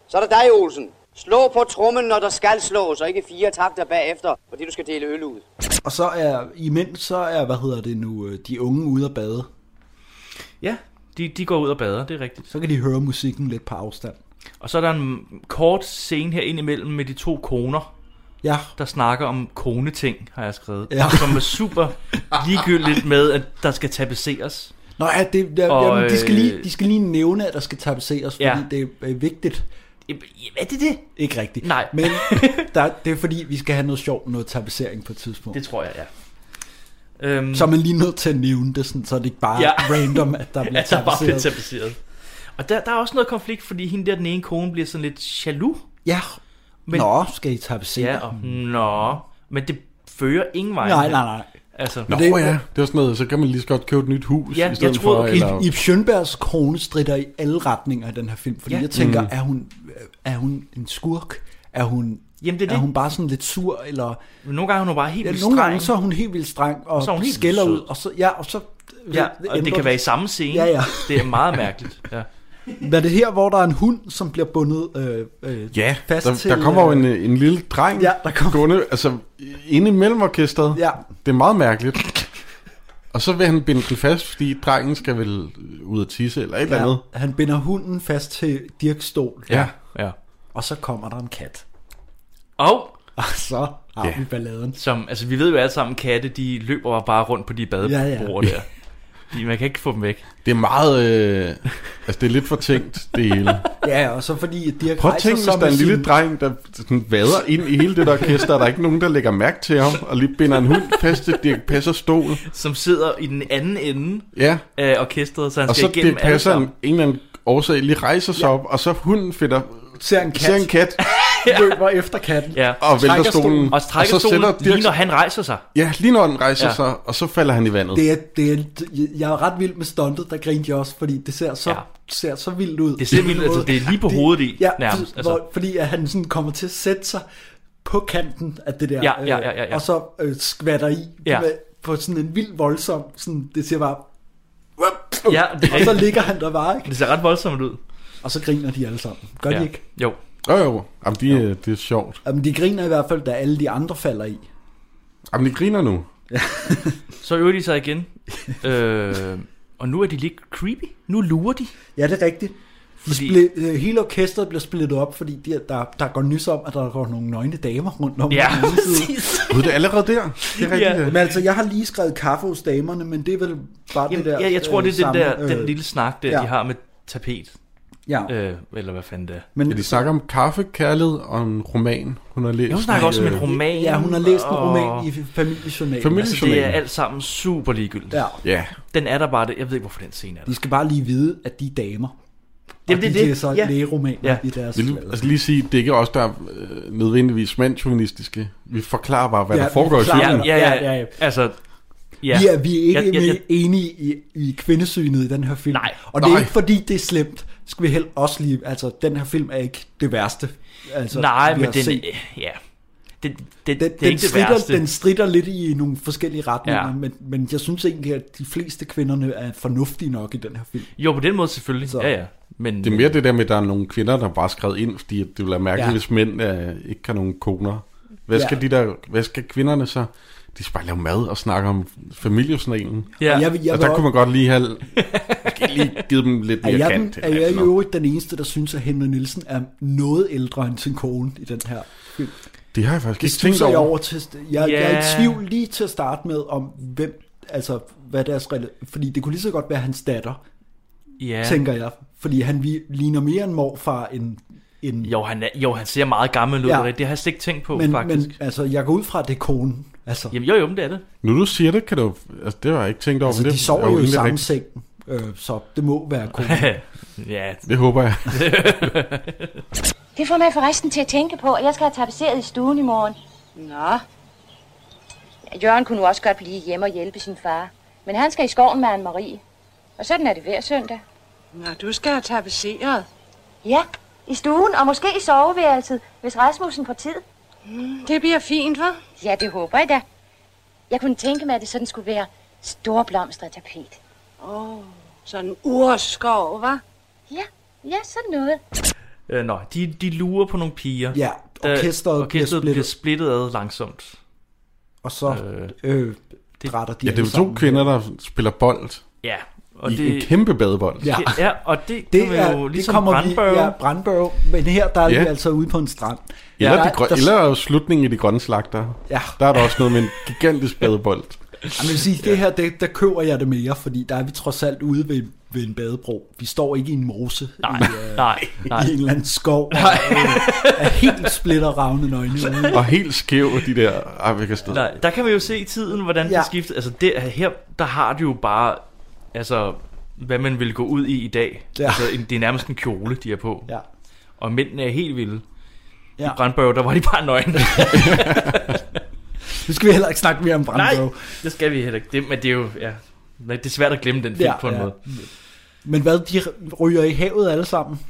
Speaker 10: Så er der dig, Olsen. Slå på trummen, når der skal slås, og ikke fire takter bagefter, fordi du skal dele øl ud.
Speaker 3: Og så er, imens så er, hvad hedder det nu, øh, de unge ude at bade.
Speaker 5: Ja, de, de går ud og bader, det er rigtigt.
Speaker 3: Så kan de høre musikken lidt på afstand.
Speaker 5: Og så er der en kort scene her indimellem med de to koner,
Speaker 3: Ja,
Speaker 5: der snakker om koneting, har jeg skrevet.
Speaker 3: Ja.
Speaker 5: Ja. Som er super ligegyldigt med, at der skal tapeseres.
Speaker 3: Nå ja, det, ja
Speaker 5: Og,
Speaker 3: jamen, de, skal
Speaker 5: øh,
Speaker 3: lige, de skal lige nævne, at der skal tapeseres, fordi ja.
Speaker 5: Ja.
Speaker 3: det er øh, vigtigt.
Speaker 5: Er det det?
Speaker 3: Ikke rigtigt.
Speaker 5: Nej.
Speaker 3: Men der, det er fordi, vi skal have noget sjovt, noget tapisering på et tidspunkt.
Speaker 5: Det
Speaker 3: Det...
Speaker 5: tror jeg, ja. Øhm,
Speaker 3: Så er man lige nødt til at nævne det, sådan, så det ikke bare ja.
Speaker 5: Ja.
Speaker 3: random, at der bliver
Speaker 5: at der bare bliver
Speaker 3: tapiseret.
Speaker 5: tapeseret. Og der, der er også noget konflikt, fordi hende der, den ene kone, bliver sådan lidt jaloux.
Speaker 3: Ja, men...
Speaker 5: Men-
Speaker 3: Nå, skal I tapisere?
Speaker 5: Ja, og nå. Men det fører ingen vej.
Speaker 3: Mm. Nej, nej, nej.
Speaker 5: Altså,
Speaker 4: Nå
Speaker 3: det-
Speaker 4: det, ja, det var sådan noget, så kan man lige så godt købe et nyt hus
Speaker 5: Ja,
Speaker 4: i stedet
Speaker 5: jeg troede,
Speaker 4: for.
Speaker 5: okay,
Speaker 4: eller,
Speaker 3: Ib Schønbergs kone strider i alle retninger i den her film, fordi ja.
Speaker 5: Ja.
Speaker 3: jeg tænker,
Speaker 4: Mm.
Speaker 3: er, hun, øh, er hun en skurk? Er hun,
Speaker 5: Jamen, det er
Speaker 3: er
Speaker 5: det.
Speaker 3: hun bare sådan lidt sur? Eller...
Speaker 5: Men nogle gange er hun bare helt
Speaker 3: Ja,
Speaker 5: vildt
Speaker 3: nogle
Speaker 5: streng.
Speaker 3: gange så er hun helt vildt streng og
Speaker 5: Så er hun helt
Speaker 3: skælder
Speaker 5: sød.
Speaker 3: ud, og så, ja, og så
Speaker 5: Ja, og det
Speaker 3: ændrer-
Speaker 5: kan være i samme scene.
Speaker 3: Ja, ja.
Speaker 5: Det er meget mærkeligt. Ja.
Speaker 3: Men er det her, hvor der er en hund, som bliver bundet øh, øh,
Speaker 4: Ja,
Speaker 3: fast
Speaker 4: der,
Speaker 3: til...
Speaker 4: der kommer jo
Speaker 3: øh,
Speaker 4: en, øh, en lille dreng
Speaker 3: Ja, der kommer-
Speaker 4: gående, altså inde imellem orkestret.
Speaker 3: øh, Ja.
Speaker 4: Det er meget mærkeligt. Og så vil han binde den fast, fordi drengen skal vel ud at tisse eller et eller andet.
Speaker 3: Ja, han binder hunden fast til Dirks stol,
Speaker 4: Ja.
Speaker 5: Ja.
Speaker 3: og så kommer der en kat.
Speaker 5: Og
Speaker 3: Og så har
Speaker 4: Ja.
Speaker 3: vi balladen.
Speaker 5: som, altså vi ved jo alle sammen, katte, de løber bare rundt på de badebord
Speaker 3: Ja,
Speaker 5: ja, ja. der. De, man kan ikke få dem væk.
Speaker 4: Det er meget, øh, altså det er lidt for tænkt, det hele.
Speaker 3: Ja, og så fordi at Dirk
Speaker 4: Prøv at
Speaker 3: rejser
Speaker 4: tænke, hvis
Speaker 3: sig
Speaker 4: der er en
Speaker 3: med
Speaker 4: lille
Speaker 3: sin-
Speaker 4: dreng, der sådan vader ind i hele det der orkester, og der er ikke nogen, der lægger mærke til ham, og lige binder en hund fast til Dirk Passer stol.
Speaker 5: Som sidder i den anden ende
Speaker 4: Ja,
Speaker 5: af orkestret, så han
Speaker 4: og
Speaker 5: skal
Speaker 4: så
Speaker 5: igennem
Speaker 4: Dirk
Speaker 5: alle
Speaker 4: Passer en,
Speaker 5: sammen.
Speaker 4: en eller anden årsag lige rejser sig op, og så hunden finder,
Speaker 3: Ser en kat,
Speaker 4: ser en kat
Speaker 3: løber efter katten.
Speaker 5: Ja.
Speaker 4: og vælter
Speaker 3: Trækker stolen.
Speaker 4: stolen.
Speaker 5: Og trækker
Speaker 4: så
Speaker 5: stolen
Speaker 4: sætter
Speaker 5: lige
Speaker 4: Dirk
Speaker 5: når han rejser sig.
Speaker 4: Ja, lige når den rejser ja.
Speaker 5: Ja.
Speaker 4: sig, og så falder han i vandet. Det,
Speaker 3: Det er, det er, jeg er ret vild med stuntet, der grinte jeg også, fordi det ser så, ja.
Speaker 5: Ja.
Speaker 3: ser så vildt ud.
Speaker 5: Det ser vildt ud, altså, det er lige på hovedet i,
Speaker 3: ja,
Speaker 5: nærmest,
Speaker 3: Altså.
Speaker 5: altså.
Speaker 3: Hvor, fordi at han sådan kommer til at sætte sig på kanten af det der,
Speaker 5: Ja, ja, ja, ja,
Speaker 3: øh,
Speaker 5: ja.
Speaker 3: og så øh, skvatter i ja.
Speaker 5: Ja.
Speaker 3: med, på sådan en vild voldsom, sådan, det ser bare,
Speaker 5: Ja, det, er
Speaker 3: og så
Speaker 5: rigtigt.
Speaker 3: ligger han der bare, ikke?
Speaker 5: det ser ret voldsomt ud.
Speaker 3: og så griner de alle sammen. Gør ja.
Speaker 5: Ja.
Speaker 3: de ikke?
Speaker 5: Jo.
Speaker 4: jo, jo. Jamen, de, jo. det er sjovt.
Speaker 3: Jamen, de griner i hvert fald, da alle de andre falder i.
Speaker 4: Jamen, de griner nu.
Speaker 5: Så øver de sig igen. øh, og nu er de lidt creepy. Nu lurer de.
Speaker 3: Ja, det er rigtigt. De
Speaker 5: Fordi-
Speaker 3: split, øh, hele orkestret bliver splittet op, fordi de, der, der går nys om, at der går nogle nøgne damer rundt om.
Speaker 5: Ja,
Speaker 3: på den anden side.
Speaker 5: præcis.
Speaker 4: Gud, det er allerede der. Det er rigtigt.
Speaker 5: Ja.
Speaker 4: Ja.
Speaker 3: Men altså, jeg har lige skrevet kaffe hos damerne, men det er vel bare
Speaker 5: Jamen,
Speaker 3: det der...
Speaker 5: ja, jeg tror, det er den,
Speaker 3: samme,
Speaker 5: der, den
Speaker 3: øh,
Speaker 5: lille snak, der
Speaker 3: ja.
Speaker 5: ja. de har med tapet.
Speaker 3: Ja,
Speaker 5: Øh, eller hvad fanden det er.
Speaker 3: men
Speaker 4: Ja, de snakker om kaffe, kærlighed og en roman, hun har læst. Øh,
Speaker 5: Jeg snakker også om en roman.
Speaker 3: ja, hun har læst en
Speaker 5: og-
Speaker 3: roman i familiejournalen.
Speaker 4: Familie-
Speaker 5: Altså, det er alt sammen super ligegyldigt.
Speaker 3: Ja,
Speaker 4: Ja,
Speaker 5: Den er der bare, det. jeg ved ikke, hvorfor den scene er der.
Speaker 3: de skal bare lige vide, at de er damer.
Speaker 5: Jamen,
Speaker 3: og
Speaker 5: det er
Speaker 3: de
Speaker 5: det.
Speaker 3: læser
Speaker 5: Ja.
Speaker 3: lægeromaner
Speaker 5: Ja.
Speaker 3: i deres...
Speaker 4: vil du altså lige sige, det er ikke os, der er øh, nødvendigvis mandsjournalistiske. Vi forklarer bare, hvad
Speaker 3: Ja,
Speaker 4: ja, der
Speaker 3: vi
Speaker 4: foregår i
Speaker 3: forklarer-
Speaker 4: filmen.
Speaker 5: Ja, ja, ja,
Speaker 3: Ja, ja,
Speaker 5: ja,
Speaker 3: ja.
Speaker 5: ja. Altså, ja.
Speaker 3: Vi er, vi er ikke
Speaker 5: Jeg- jeg- jeg-
Speaker 3: enige i, i kvindesynet i den her film.
Speaker 5: Nej.
Speaker 3: Og det er
Speaker 4: Nej.
Speaker 3: ikke fordi, det er slemt. Skal vi helt også lige... Altså, den her film er ikke det værste. Altså,
Speaker 5: Nej,
Speaker 3: vi
Speaker 5: men
Speaker 3: har
Speaker 5: den,
Speaker 3: set.
Speaker 5: ja. Den, den, den,
Speaker 3: Den,
Speaker 5: det er
Speaker 3: den,
Speaker 5: ikke det
Speaker 3: stritter,
Speaker 5: værste.
Speaker 3: den stritter lidt i nogle forskellige retninger, ja.
Speaker 5: Ja.
Speaker 3: men, men jeg synes egentlig, at de fleste kvinderne er fornuftige nok i den her film.
Speaker 5: Jo, på den måde selvfølgelig.
Speaker 3: Så.
Speaker 5: Ja, ja. Men,
Speaker 4: Det er mere det der med, at der er nogle kvinder, der bare er skrevet ind, fordi det vil være mærkeligt,
Speaker 3: Ja.
Speaker 4: ja. hvis mænd øh, ikke har nogen koner. Hvad
Speaker 3: Ja.
Speaker 4: skal, de der, hvad skal kvinderne så? De skal bare lave mad og snakke om familiejournalen.
Speaker 5: ja.
Speaker 3: Og jeg, vil- jeg,
Speaker 4: Jeg og
Speaker 3: vil
Speaker 4: der kunne
Speaker 3: også-
Speaker 4: man godt lige have måske lige givet dem lidt mere
Speaker 3: er jeg,
Speaker 4: kant.
Speaker 3: den, er jeg i øvrigt den eneste, der synes, at Henry Nielsen er noget ældre end sin kone i den her film?
Speaker 4: det har jeg faktisk
Speaker 3: Det
Speaker 4: ikke tænkt
Speaker 3: stusser
Speaker 4: over.
Speaker 3: jeg over til. Jeg, jeg er i
Speaker 5: Ja.
Speaker 3: tvivl lige til at starte med, om hvem, altså hvad deres rela- Fordi det kunne lige så godt være hans datter,
Speaker 5: ja.
Speaker 3: ja. tænker jeg. Fordi han vi- ligner mere en morfar end... end
Speaker 5: Jo, han, er, jo, han ser meget gammel ud.
Speaker 3: Ja.
Speaker 5: Ja. Det har jeg slet ikke tænkt på,
Speaker 3: men,
Speaker 5: men, faktisk.
Speaker 3: men
Speaker 5: Men,
Speaker 3: altså, jeg går ud fra, at det er konen. Altså,
Speaker 5: Jamen, jo, jo, men det er det.
Speaker 4: Nu du siger det, kan du... Altså, det har jeg ikke tænkt over.
Speaker 3: altså
Speaker 4: men
Speaker 3: de
Speaker 4: det, er
Speaker 3: sover jo i
Speaker 4: egentlig
Speaker 3: samme
Speaker 4: rigtigt.
Speaker 3: seng, øh, så det må være konen.
Speaker 5: ja,
Speaker 4: Det håber jeg.
Speaker 11: Det får mig forresten til at tænke på, at jeg skal have tapetseret i stuen i morgen.
Speaker 9: Nå,
Speaker 11: Jørgen kunne nu også godt blive hjemme og hjælpe sin far. Men han skal i skoven med Anne-Marie. Og sådan er det hver søndag.
Speaker 8: Nå, du skal have tapeseret.
Speaker 11: Ja, i stuen og måske i soveværelset, hvis Rasmussen får tid.
Speaker 8: Det bliver fint, hva'?
Speaker 11: Ja, det håber jeg da. Jeg kunne tænke mig, at det sådan skulle være store blomster og tapet.
Speaker 8: Åh, oh, sådan urskov, hva'?
Speaker 11: Ja, ja, sådan noget.
Speaker 5: øh, nå, de, de lurer på nogle piger.
Speaker 3: Ja,
Speaker 5: Da
Speaker 3: orkestret, bliver
Speaker 5: orkestret bliver
Speaker 3: splittet,
Speaker 5: splittet ad langsomt.
Speaker 3: og så øh,
Speaker 5: Øh,
Speaker 3: øh, drætter de
Speaker 4: Ja,
Speaker 3: alle
Speaker 4: det er jo to
Speaker 3: sammen.
Speaker 4: kvinder, der spiller bold.
Speaker 5: Ja,
Speaker 4: Og
Speaker 5: og
Speaker 4: I det... en
Speaker 5: det...
Speaker 4: kæmpe badebold.
Speaker 3: Ja.
Speaker 5: Ja, og det,
Speaker 3: Det
Speaker 5: det
Speaker 3: er,
Speaker 5: er jo ligesom
Speaker 3: det kommer
Speaker 5: brandbørge.
Speaker 3: Vi, ja, brandbørge. Men her, der er
Speaker 4: Ja.
Speaker 3: vi altså ude på en strand.
Speaker 4: Eller,
Speaker 3: der,
Speaker 4: de grøn...
Speaker 3: der,
Speaker 4: Eller slutningen i de grønne slagter.
Speaker 3: Ja.
Speaker 4: Der er der også noget med en gigantisk badebold.
Speaker 3: Jeg vil sige, det her, det, der køber jeg det mere, fordi der er vi trods alt ude ved, ved en badebro. Vi står ikke i en mose
Speaker 5: Nej,
Speaker 3: i, øh,
Speaker 5: nej, nej.
Speaker 3: i en eller anden skov, og øh, er helt splitter ravne nøgne ude.
Speaker 4: Og helt skæv, de der... Ej, jeg kan stå.
Speaker 5: Nej, der kan vi jo se i tiden, hvordan ja.
Speaker 3: Ja.
Speaker 5: det skifter. Altså det, her, der har du jo bare, altså, hvad man ville gå ud i i dag.
Speaker 3: Ja.
Speaker 5: Ja. Altså, en, det er nærmest en kjole, de er på. Ja.
Speaker 3: Ja.
Speaker 5: Og mændene er helt vilde.
Speaker 3: Ja.
Speaker 5: Ja. I brandbørge, der var de bare nøgne.
Speaker 3: Nu skal vi heller ikke snakke mere om
Speaker 5: Nej,
Speaker 3: brandbørge.
Speaker 5: det skal vi heller ikke. Det, men det er jo, ja. Nej, det er svært at glemme den film
Speaker 3: Ja,
Speaker 5: på en
Speaker 3: ja.
Speaker 5: måde.
Speaker 3: Men hvad, de ryger i havet alle sammen?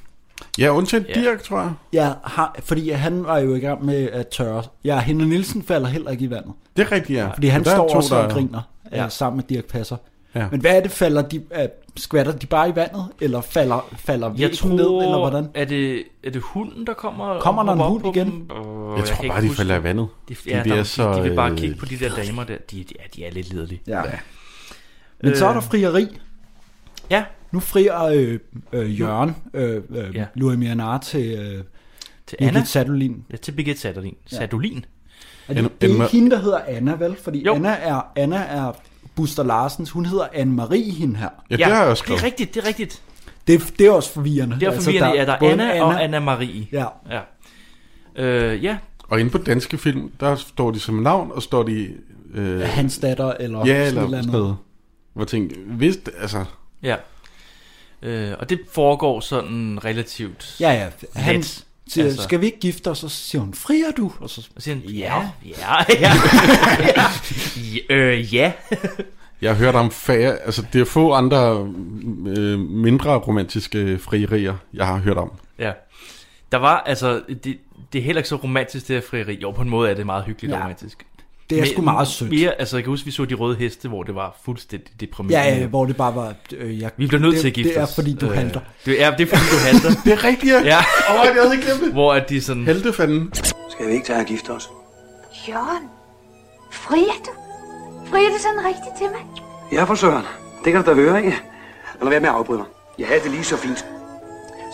Speaker 4: Ja, undtagen
Speaker 5: Ja.
Speaker 4: Dirk, tror jeg.
Speaker 3: Ja, har, fordi han var jo i gang med at tørre. Ja, Henry Nielsen falder heller ikke i vandet.
Speaker 4: Det er rigtigt, ja.
Speaker 3: Fordi han
Speaker 4: Men der er
Speaker 3: står
Speaker 4: to,
Speaker 3: også
Speaker 4: der-
Speaker 3: og griner ja.
Speaker 5: Ja.
Speaker 3: sammen med Dirk Passer.
Speaker 4: Ja.
Speaker 3: Men hvad er det, falder de, er, skvatter de bare i vandet, eller falder, falder
Speaker 5: Jeg
Speaker 3: væggen
Speaker 5: tror,
Speaker 3: ned, eller hvordan?
Speaker 5: Er det, er det hunden, der kommer?
Speaker 3: Kommer der en
Speaker 5: hopper
Speaker 3: hund
Speaker 5: op på
Speaker 3: igen?
Speaker 5: dem? Åh,
Speaker 4: Jeg tror
Speaker 5: kan ikke
Speaker 4: bare, de
Speaker 5: huske
Speaker 4: falder i
Speaker 5: det.
Speaker 4: vandet.
Speaker 5: De,
Speaker 4: Fordi
Speaker 5: ja,
Speaker 4: det er
Speaker 5: de,
Speaker 4: så,
Speaker 5: de vil bare
Speaker 4: øh,
Speaker 5: kigge på de der damer der. De, de, er, de er lidt lederlige.
Speaker 3: Ja. Men så er der frieri.
Speaker 5: Ja.
Speaker 3: Nu frier øh, øh, Jørgen øh, øh,
Speaker 5: Ja.
Speaker 3: ja. Louis Mianar til, øh,
Speaker 5: Til
Speaker 3: Birgit
Speaker 5: Anna?
Speaker 3: Sadolin.
Speaker 5: Ja, til Birgit Sadolin.
Speaker 3: Ja.
Speaker 5: Sadolin.
Speaker 3: Og det, det er ikke hende, der hedder Anna, vel? Fordi jo. Anna er, Anna er Buster Larsens. Hun hedder Anne-Marie, hende her.
Speaker 5: Det er rigtigt, det er rigtigt.
Speaker 3: Det, det er også forvirrende. Altså,
Speaker 5: Det er forvirrende, ja, der er
Speaker 3: både
Speaker 5: Anna, og Anna-Marie.
Speaker 3: Ja.
Speaker 5: ja. Øh, ja.
Speaker 4: Og inde på danske film, der står de som navn, og står de... Øh,
Speaker 3: Hans datter, eller
Speaker 4: ja,
Speaker 3: sådan
Speaker 4: eller
Speaker 3: et eller
Speaker 4: sådan
Speaker 3: andet.
Speaker 4: noget. Hvor jeg tænkte, hvis, altså...
Speaker 5: Ja. Øh, og det foregår sådan relativt
Speaker 3: Ja, ja. Han
Speaker 5: let.
Speaker 3: siger, altså. skal vi ikke gifte os? Og så siger hun, frier du? Og så
Speaker 5: Og siger han,
Speaker 3: ja.
Speaker 5: Ja, ja. ja. Øh, ja.
Speaker 4: Jeg har hørt om færre, altså det er få andre øh, mindre romantiske frierier, jeg har hørt om.
Speaker 5: ja. Der var, altså, det, det er heller ikke så romantisk, det her frieri. Jo, på en måde er det meget hyggeligt ja.
Speaker 3: Ja.
Speaker 5: romantisk.
Speaker 3: Det er
Speaker 5: Men
Speaker 3: sgu meget sødt.
Speaker 5: Mere, altså, jeg kan huske, vi så de røde heste, hvor det var fuldstændig deprimerende.
Speaker 3: Ja, ja, hvor det bare var... Øh, jeg,
Speaker 5: Vi bliver nødt
Speaker 3: det,
Speaker 5: til at gifte
Speaker 3: Det er,
Speaker 5: os.
Speaker 3: fordi du
Speaker 5: Øh,
Speaker 3: halter.
Speaker 5: Det er, det er fordi, du halter.
Speaker 4: det er rigtigt, ja.
Speaker 5: ja.
Speaker 4: Åh, jeg havde ikke glemt det.
Speaker 5: Hvor at de sådan...
Speaker 4: Heltefanden.
Speaker 12: Skal vi ikke tage og gifte os?
Speaker 9: Jørgen, frier du? Frier du sådan rigtigt til mig?
Speaker 12: Ja, for søren. Det kan du da høre, ikke? Eller hvad med at afbryde mig? Jeg havde det lige så fint.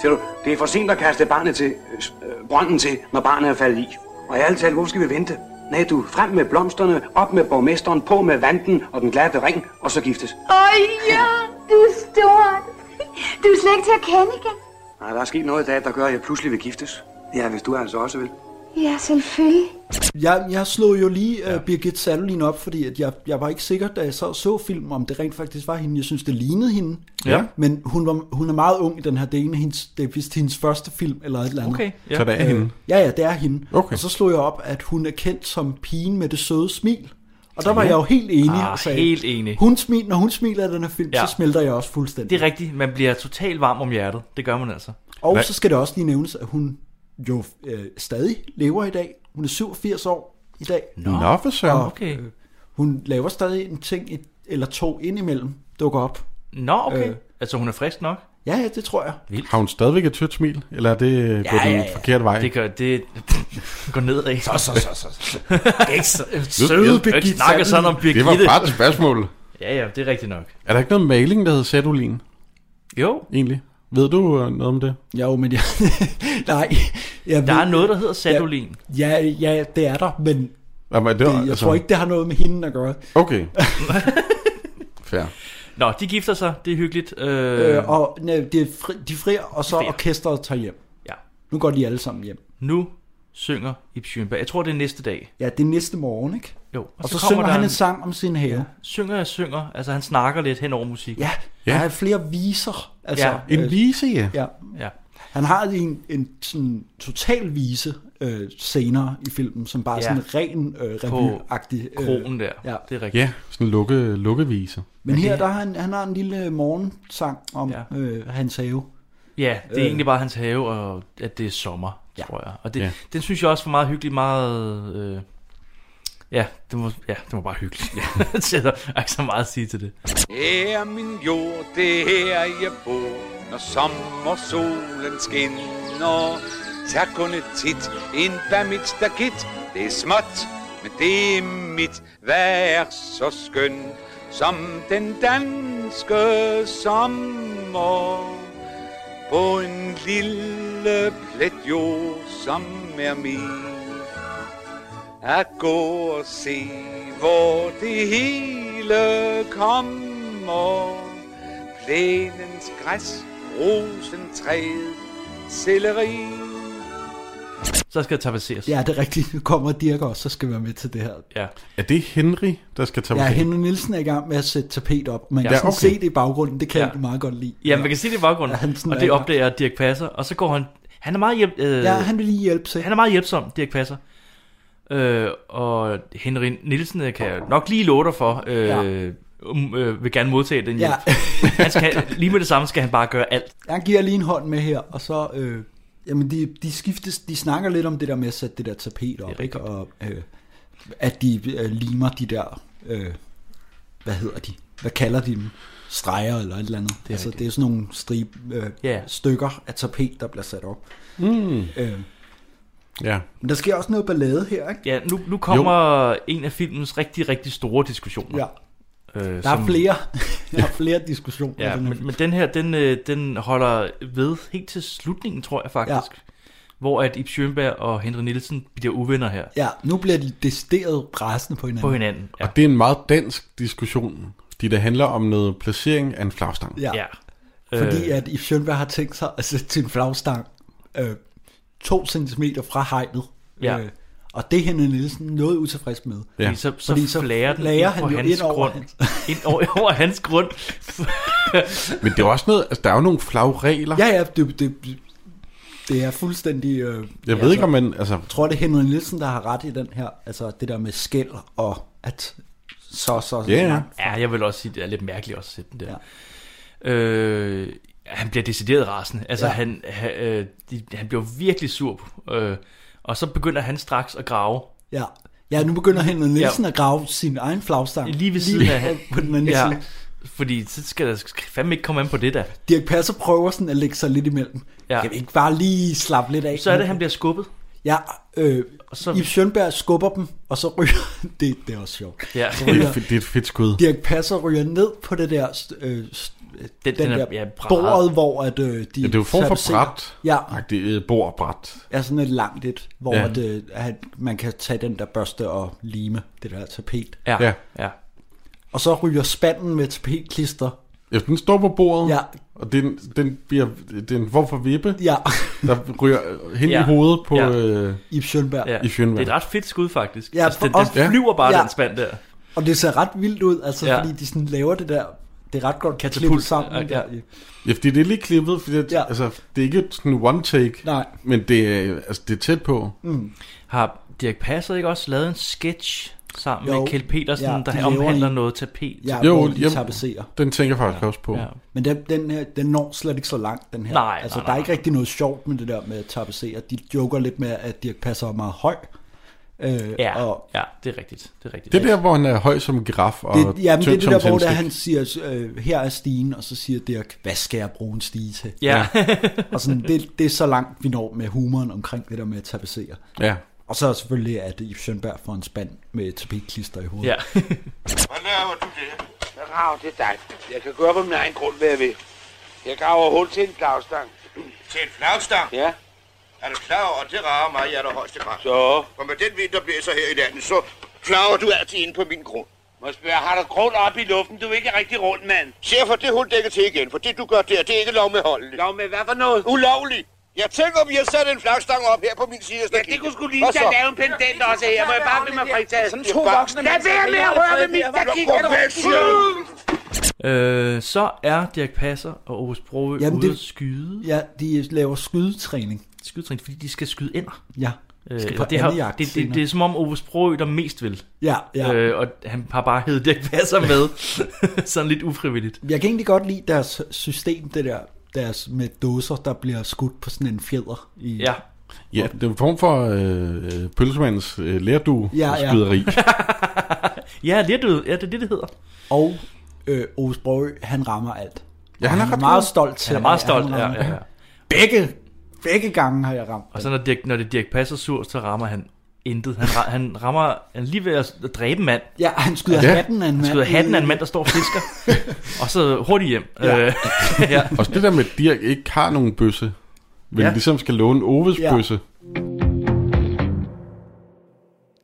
Speaker 12: Ser du, det er for sent at kaste barnet til, øh, s- øh, brønden til, når barnet er faldet i. Og i alt talt, hvorfor skal vi vente? Nej, du, frem med blomsterne, op med borgmesteren, på med vanten og den glatte ring, og så giftes.
Speaker 9: Åh, Jørgen, du er stort. Du er slet ikke til at kende igen.
Speaker 12: Nej, der er sket noget i dag, der gør, at jeg pludselig vil giftes. Ja, hvis du altså også vil.
Speaker 9: Ja, selvfølgelig.
Speaker 3: Jeg, jeg slog jo lige ja. uh, Birgit Sadolin op, fordi at jeg, jeg var ikke sikker, da jeg så så filmen, om det rent faktisk var hende. Jeg synes, det lignede hende.
Speaker 5: Ja.
Speaker 3: Men hun, var, hun er meget ung i den her. Det er, en af hendes, det er vist hendes første film, eller et eller andet.
Speaker 5: Okay, ja. Så det er
Speaker 3: Øh,
Speaker 5: hende?
Speaker 3: Ja, ja, det er hende.
Speaker 4: Okay.
Speaker 3: Og så slog jeg op, at hun er kendt som pigen med det søde smil. Og der var
Speaker 5: Ja.
Speaker 3: jeg jo helt enig.
Speaker 5: Ah,
Speaker 3: og sagde,
Speaker 5: helt enig.
Speaker 3: Hun smil, når hun smiler i den her film,
Speaker 5: Ja.
Speaker 3: ja. så smelter jeg også fuldstændig.
Speaker 5: Det er rigtigt. Man bliver totalt varm om hjertet. Det gør man altså.
Speaker 3: Og Hvad? så skal det også lige nævnes, at hun jo øh, stadig lever i dag. Hun er 87 år i dag.
Speaker 4: Nå. Nå, for søren.
Speaker 3: Og,
Speaker 5: Okay.
Speaker 3: øh, hun laver stadig en ting et, eller to indimellem dukker op.
Speaker 5: Nå, okay. Øh. Altså, hun er frisk nok.
Speaker 3: Ja, ja, det tror jeg.
Speaker 5: Vildt.
Speaker 4: Har hun stadigvæk et tødt smil, eller er det ja, gået den ja, ja. forkerte vej?
Speaker 5: Det gør det. Går ned i. Så,
Speaker 3: så, så, så. så.
Speaker 5: Ikke så.
Speaker 4: Nu-
Speaker 5: Søde Birgitte. snakker sådan om Birgitte.
Speaker 4: Det var bare et spørgsmål.
Speaker 5: Ja, ja, det er rigtigt nok.
Speaker 4: Er der ikke noget maling, der hedder Sadolin?
Speaker 5: Jo.
Speaker 4: Egentlig. Ved du øh, noget om det?
Speaker 3: Jo, men jeg... nej. Jeg
Speaker 5: Der
Speaker 3: ved-
Speaker 5: er noget, der hedder Sadolin.
Speaker 3: Ja, ja, ja, det er der, men
Speaker 4: Jamen, det,
Speaker 3: det,
Speaker 4: var,
Speaker 3: jeg altså... tror ikke, det har noget med hende at gøre.
Speaker 4: Okay. Fair.
Speaker 5: Nå, de gifter sig. Det er hyggeligt. Øh,
Speaker 3: Øh, og nej, det er fri, de frier, og så orkestret tager hjem.
Speaker 5: Ja.
Speaker 3: Nu går de alle sammen hjem.
Speaker 5: Nu synger Ib Schønberg. Jeg tror, det er næste dag.
Speaker 3: Ja, det er næste morgen, ikke?
Speaker 5: Jo.
Speaker 3: Og, og så, så synger
Speaker 5: der
Speaker 3: han en sang om sin have. Ja.
Speaker 5: Synger jeg synger. Altså, han snakker lidt hen over musikken.
Speaker 3: Ja,
Speaker 4: Ja.
Speaker 3: ja. han har flere viser. Altså,
Speaker 5: Ja.
Speaker 4: En vise, ja.
Speaker 3: ja.
Speaker 5: Ja.
Speaker 3: Han har en, en sådan total vise øh, senere i filmen, som bare
Speaker 5: Ja.
Speaker 3: ja. sådan ren øh, revyagtig. øh,
Speaker 5: På kronen der.
Speaker 3: Ja.
Speaker 5: Det er rigtigt.
Speaker 4: Ja, sådan en lukke, lukkevise.
Speaker 3: Men her, der har han, han har en lille morgensang om ja. øh, hans have.
Speaker 5: Ja, det er øh.
Speaker 3: Øh.
Speaker 5: egentlig bare hans have, og at det er sommer, ja. tror jeg. Og det, ja.
Speaker 4: Ja.
Speaker 5: den synes jeg også var meget hyggelig, meget... Øh, ja, det var, ja, det var bare hyggeligt. Ja. Så der er ikke så meget at sige til det.
Speaker 13: Her er min jord, det er her jeg bor, når sommersolen skinner. Tag kun et tit ind bag mit stakit. Det er småt, men det er mit. Hvad er så skøn som den danske sommer? På en lille plet jord, som er min at gå og se, hvor det hele kommer. Plænens græs, rosentræet, selleri.
Speaker 5: Så skal jeg tapasseres.
Speaker 3: Ja, det er rigtigt. Nu kommer Dirk også, så skal være med til det her.
Speaker 5: Ja.
Speaker 4: Er det Henry, der skal tage
Speaker 3: Ja,
Speaker 4: vokal?
Speaker 3: Henry Nielsen er i gang med at sætte tapet op. Man
Speaker 4: Ja,
Speaker 3: kan ja, okay.
Speaker 4: okay.
Speaker 3: se det i baggrunden. Det kan
Speaker 5: Ja.
Speaker 3: ja. jeg meget godt lide.
Speaker 5: Ja, man kan sige det i baggrunden,
Speaker 3: Ja, han sådan
Speaker 5: og det
Speaker 3: er-
Speaker 5: opdager Dirk Passer, og så går han... Han er meget hjælp, øh,
Speaker 3: Ja, han vil lige hjælpe til.
Speaker 5: han er meget hjælpsom, Dirk Passer. Øh, og Henry Nielsen øh, kan jeg nok lige love dig for, øh, ja.
Speaker 3: Ja.
Speaker 5: øh, vil gerne modtage den
Speaker 3: Ja.
Speaker 5: hjælp. han skal, lige med det samme skal han bare gøre alt.
Speaker 3: Jeg giver lige en hånd med her, og så... Øh, jamen, de, de, skiftes, de snakker lidt om det der med at sætte det der tapet op, ikke? Og øh, at de øh, limer de der... Øh, hvad hedder de? hvad kalder de dem? Streger eller et eller andet. Det er, altså, det er sådan nogle strib, øh,
Speaker 5: Ja.
Speaker 3: stykker af tapet, der bliver sat op.
Speaker 4: Mm.
Speaker 3: Øh,
Speaker 4: Ja.
Speaker 3: men der sker også noget ballade her, ikke?
Speaker 5: Ja, nu, nu kommer jo. en af filmens rigtig, rigtig store diskussioner.
Speaker 3: Ja.
Speaker 5: Øh,
Speaker 3: Der er flere, Altså, der er flere diskussioner.
Speaker 5: Ja,
Speaker 3: sådan
Speaker 5: men, men den her, den, øh, den holder ved helt til slutningen, tror jeg faktisk. Ja. Hvor at Ib Schønberg og Henry Nielsen bliver uvenner her.
Speaker 3: Ja, nu bliver de decideret rasende på hinanden.
Speaker 5: På hinanden,
Speaker 4: ja. Og det er en meget dansk diskussion, de der handler om noget placering af en flagstang.
Speaker 3: Ja. ja. Fordi
Speaker 5: Øh,
Speaker 3: at i Schønberg har tænkt sig at sætte sin flagstang øh, to centimeter fra hegnet.
Speaker 5: Ja.
Speaker 3: Øh, og det er Henrik Nielsen noget utilfreds med.
Speaker 5: Ja. Fordi så, så, Fordi så flager den
Speaker 3: flager
Speaker 5: ind på
Speaker 3: jo
Speaker 5: hans
Speaker 3: ind over
Speaker 5: grund. Ind over, over hans grund.
Speaker 4: Men det er også noget, altså der er jo nogle flagregler.
Speaker 3: Ja, ja, det, det, det er fuldstændig... Øh, jeg
Speaker 4: ved ikke, om man- altså-
Speaker 3: Jeg tror, det er Henrik Nielsen, der har ret i den her. Altså det der med skæld og at så, så, så langt.
Speaker 5: ja, jeg vil også sige, det er lidt mærkeligt også at sætte den der. Ja. Øh, han bliver decideret rasende. Altså,
Speaker 3: Ja.
Speaker 5: ja. han, han, øh, de, han bliver virkelig sur. Øh, og så begynder han straks at grave.
Speaker 3: Ja. ja, nu begynder Henrik Nielsen ja. at grave sin egen flagstang.
Speaker 5: Lige ved siden af
Speaker 3: på- på den anden ja. side.
Speaker 5: Fordi så skal der skal fandme ikke komme an på det der.
Speaker 3: Dirk Passer prøver sådan at lægge sig lidt imellem.
Speaker 5: Ja.
Speaker 3: Ja. Kan vi ikke bare lige slappe lidt af?
Speaker 5: Så er det, han bliver skubbet.
Speaker 3: Ja, øh,
Speaker 5: så...
Speaker 3: Yves Schønberg skubber dem, og så ryger... Det, det er også sjovt.
Speaker 5: Ja.
Speaker 3: Så
Speaker 4: Det er,
Speaker 3: ryger,
Speaker 4: et fe- det er et fedt skud.
Speaker 3: Dirk Passer ryger ned på det der... st- Øh, st- den, den,
Speaker 4: den
Speaker 3: den
Speaker 4: er-
Speaker 3: der
Speaker 4: ja, bræt.
Speaker 3: bordet, hvor at, øh, de...
Speaker 4: De ja, det er jo en form for
Speaker 3: fabricerer-
Speaker 4: bræt.
Speaker 3: Ja,
Speaker 4: Det er bord bræt.
Speaker 3: er sådan et langt et, hvor
Speaker 4: Ja.
Speaker 3: ja. at, øh, at man kan tage den der børste og lime det der tapet.
Speaker 5: Ja,
Speaker 4: Ja.
Speaker 5: ja.
Speaker 3: Og så ryger spanden med tapetklister
Speaker 4: Ja, den står på bordet,
Speaker 3: Ja.
Speaker 4: og den, den bliver, det er en form for vippe,
Speaker 3: Ja.
Speaker 4: der ryger hen ja.
Speaker 5: Ja.
Speaker 4: i hovedet på
Speaker 5: Ja.
Speaker 4: ja. øh,
Speaker 3: Yves Schønberg.
Speaker 5: Ja.
Speaker 4: i
Speaker 5: Det er
Speaker 4: Fjernvand.
Speaker 5: et ret fedt skud, faktisk.
Speaker 3: Ja,
Speaker 5: Ja, altså, den,
Speaker 3: for-
Speaker 5: den
Speaker 3: og-
Speaker 5: flyver bare,
Speaker 3: ja.
Speaker 5: ja. den spand der.
Speaker 3: Og det ser ret vildt ud, altså
Speaker 5: Ja.
Speaker 3: ja. fordi de sådan laver det der, det er ret godt
Speaker 5: Katapult.
Speaker 3: klippet sammen.
Speaker 5: Ja,
Speaker 3: Ja,
Speaker 5: ja.
Speaker 3: ja.
Speaker 4: Ja, fordi det er lige klippet, fordi det, ja. altså, det er ikke sådan one take,
Speaker 3: Nej.
Speaker 4: men det er, altså, det er tæt på.
Speaker 3: Mm.
Speaker 5: Har Dirk Passer ikke også lavet en sketch sammen jo.
Speaker 3: Jo.
Speaker 5: med Kjeld Petersen,
Speaker 3: Ja,
Speaker 5: ja,
Speaker 3: de
Speaker 5: der
Speaker 3: laver
Speaker 5: omhandler
Speaker 3: en-
Speaker 5: noget tapet?
Speaker 3: Ja,
Speaker 4: Jo,
Speaker 3: hvor de
Speaker 4: jamen,
Speaker 3: tapetserer.
Speaker 4: den tænker jeg faktisk også på.
Speaker 5: Ja.
Speaker 3: Men den, den, her, den når slet ikke så langt, den her.
Speaker 5: Nej,
Speaker 3: altså,
Speaker 5: nej,
Speaker 3: der er
Speaker 5: nej,
Speaker 3: ikke rigtig noget sjovt med det der med at tapetsere. De joker lidt med, at Dirk Passer er meget høj. Øh,
Speaker 5: Ja,
Speaker 3: og
Speaker 5: ja, det er rigtigt. Det er rigtigt.
Speaker 4: Det er der, hvor han er høj som en giraf og
Speaker 3: det, jamen, det er
Speaker 4: tynd
Speaker 3: det der,
Speaker 4: som
Speaker 3: hvor det er,
Speaker 4: tændstik.
Speaker 3: han siger, øh, her er stigen, og så siger Dirk, hvad skal jeg bruge en stige til?
Speaker 5: Ja.
Speaker 3: og sådan, det, det er så langt, vi når med humoren omkring det der med at tapetsere.
Speaker 4: Ja.
Speaker 3: Og så er selvfølgelig, at Yves Schønberg får en spand med tapetklister i hovedet.
Speaker 5: Ja.
Speaker 7: Hvad laver du der? Jeg graver til dig. Jeg kan gøre på min egen grund, hvad jeg vil. Jeg graver hul til en flagstang. Til en flagstang? Ja. Er du klar over, at det rager mig i allerhøjeste grad? Så? Og med den vind, der blæser her i landet, så flager du altid ind på min grund. Må jeg spørge, har du grund op i luften? Du er ikke rigtig rund, mand. Se at få det hul dækket til igen, for det du gør der, det er ikke lov med holdet. Lov med hvad for noget? Ulovligt. Jeg tænker, om I har sat en flagstang op her på min side. Ja, det kunne sgu
Speaker 14: lige tage lave en pendant også her, hvor jeg bare vil mig fritaget.
Speaker 7: Sådan to voksne
Speaker 14: Lad
Speaker 7: mennesker,
Speaker 14: være med
Speaker 7: der
Speaker 14: at
Speaker 7: er
Speaker 14: røre ved
Speaker 7: allerede
Speaker 14: mit
Speaker 7: der, hvor der
Speaker 14: stakik.
Speaker 7: går
Speaker 14: Er du
Speaker 7: væk,
Speaker 14: rigtig?
Speaker 7: siger
Speaker 5: Øh, så er Dirk Passer og Aarhus Broø
Speaker 3: Jamen,
Speaker 5: Jamen, ude
Speaker 3: det-
Speaker 5: at skyde.
Speaker 3: Ja, de laver skydetræning.
Speaker 5: Skydetræning, fordi de skal skyde ender.
Speaker 3: Ja.
Speaker 5: Øh,
Speaker 3: Skal på
Speaker 5: det, har,
Speaker 3: andejagt
Speaker 5: det, det,
Speaker 3: senere.
Speaker 5: det, er som om Aarhus Broø, der mest vil.
Speaker 3: Ja, ja.
Speaker 5: Øh, og han har bare heddet Dirk Passer med. Sådan lidt ufrivilligt.
Speaker 3: Jeg kan egentlig godt lide deres system, det der deres med dåser, der bliver skudt på sådan en fjeder. I...
Speaker 5: Ja.
Speaker 4: Ja, det er en form for øh, pølsemandens øh, lærdue
Speaker 3: Ja, ja.
Speaker 4: skyderi.
Speaker 5: Ja, lidt ud. Ja, det er det, det hedder.
Speaker 3: Og øh, Ove Sprogø, han rammer alt.
Speaker 4: Ja, han er
Speaker 3: Og
Speaker 4: ret
Speaker 3: meget
Speaker 4: god.
Speaker 3: stolt til
Speaker 5: Han er meget
Speaker 3: at-
Speaker 5: stolt,
Speaker 3: at han rammer
Speaker 5: ja, ja, ja.
Speaker 3: alt. Begge, begge gange har jeg ramt.
Speaker 5: Og så når, Dirk, når det er Dirk Passer sur, så rammer han intet. Han, ra- han rammer han er lige ved at s- dræbe en mand.
Speaker 3: Ja, han skyder Ja. hatten af en
Speaker 5: Han
Speaker 3: mand.
Speaker 5: skyder hatten af en mand, der står og fisker. og så hurtigt hjem.
Speaker 4: Ja.
Speaker 5: Ja. Øh, ja.
Speaker 4: Også det der med, at Dirk ikke har nogen bøsse, men ja.
Speaker 5: Ja.
Speaker 4: ligesom skal låne Oves
Speaker 1: Ja.
Speaker 4: ja. bøsse.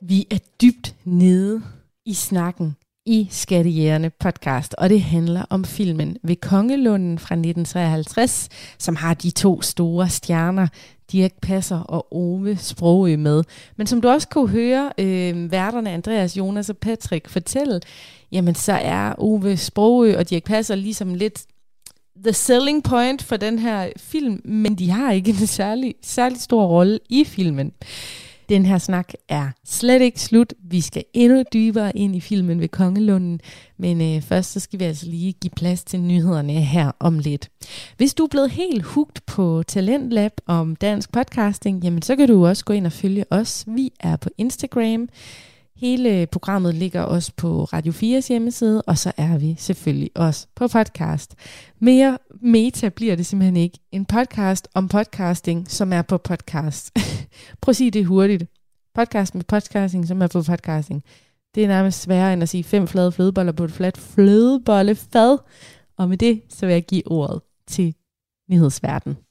Speaker 1: Vi er dybt nede i snakken i Skattejægerne podcast, og det handler om filmen Ved Kongelunden fra 1953, som har de to store stjerner, Dirk Passer og Ove Sprogø med. Men som du også kunne høre øh, værterne Andreas, Jonas og Patrick fortælle, jamen så er Ove Sprogø og Dirk Passer ligesom lidt the selling point for den her film, men de har ikke en særlig, særlig stor rolle i filmen. Den her snak er slet ikke slut. Vi skal endnu dybere ind i filmen ved Kongelunden, men øh, først så skal vi altså lige give plads til nyhederne her om lidt. Hvis du er blevet helt hugt på Talentlab om dansk podcasting, jamen så kan du også gå ind og følge os. Vi er på Instagram. Hele programmet ligger også på Radio 4's hjemmeside, og så er vi selvfølgelig også på podcast. Mere meta bliver det simpelthen ikke. En podcast om podcasting, som er på podcast. Prøv at sige det hurtigt. Podcast med podcasting, som er på podcasting. Det er nærmest sværere end at sige fem flade flødeboller på et fladt flødebollefad. Og med det, så vil jeg give ordet til nyhedsverden.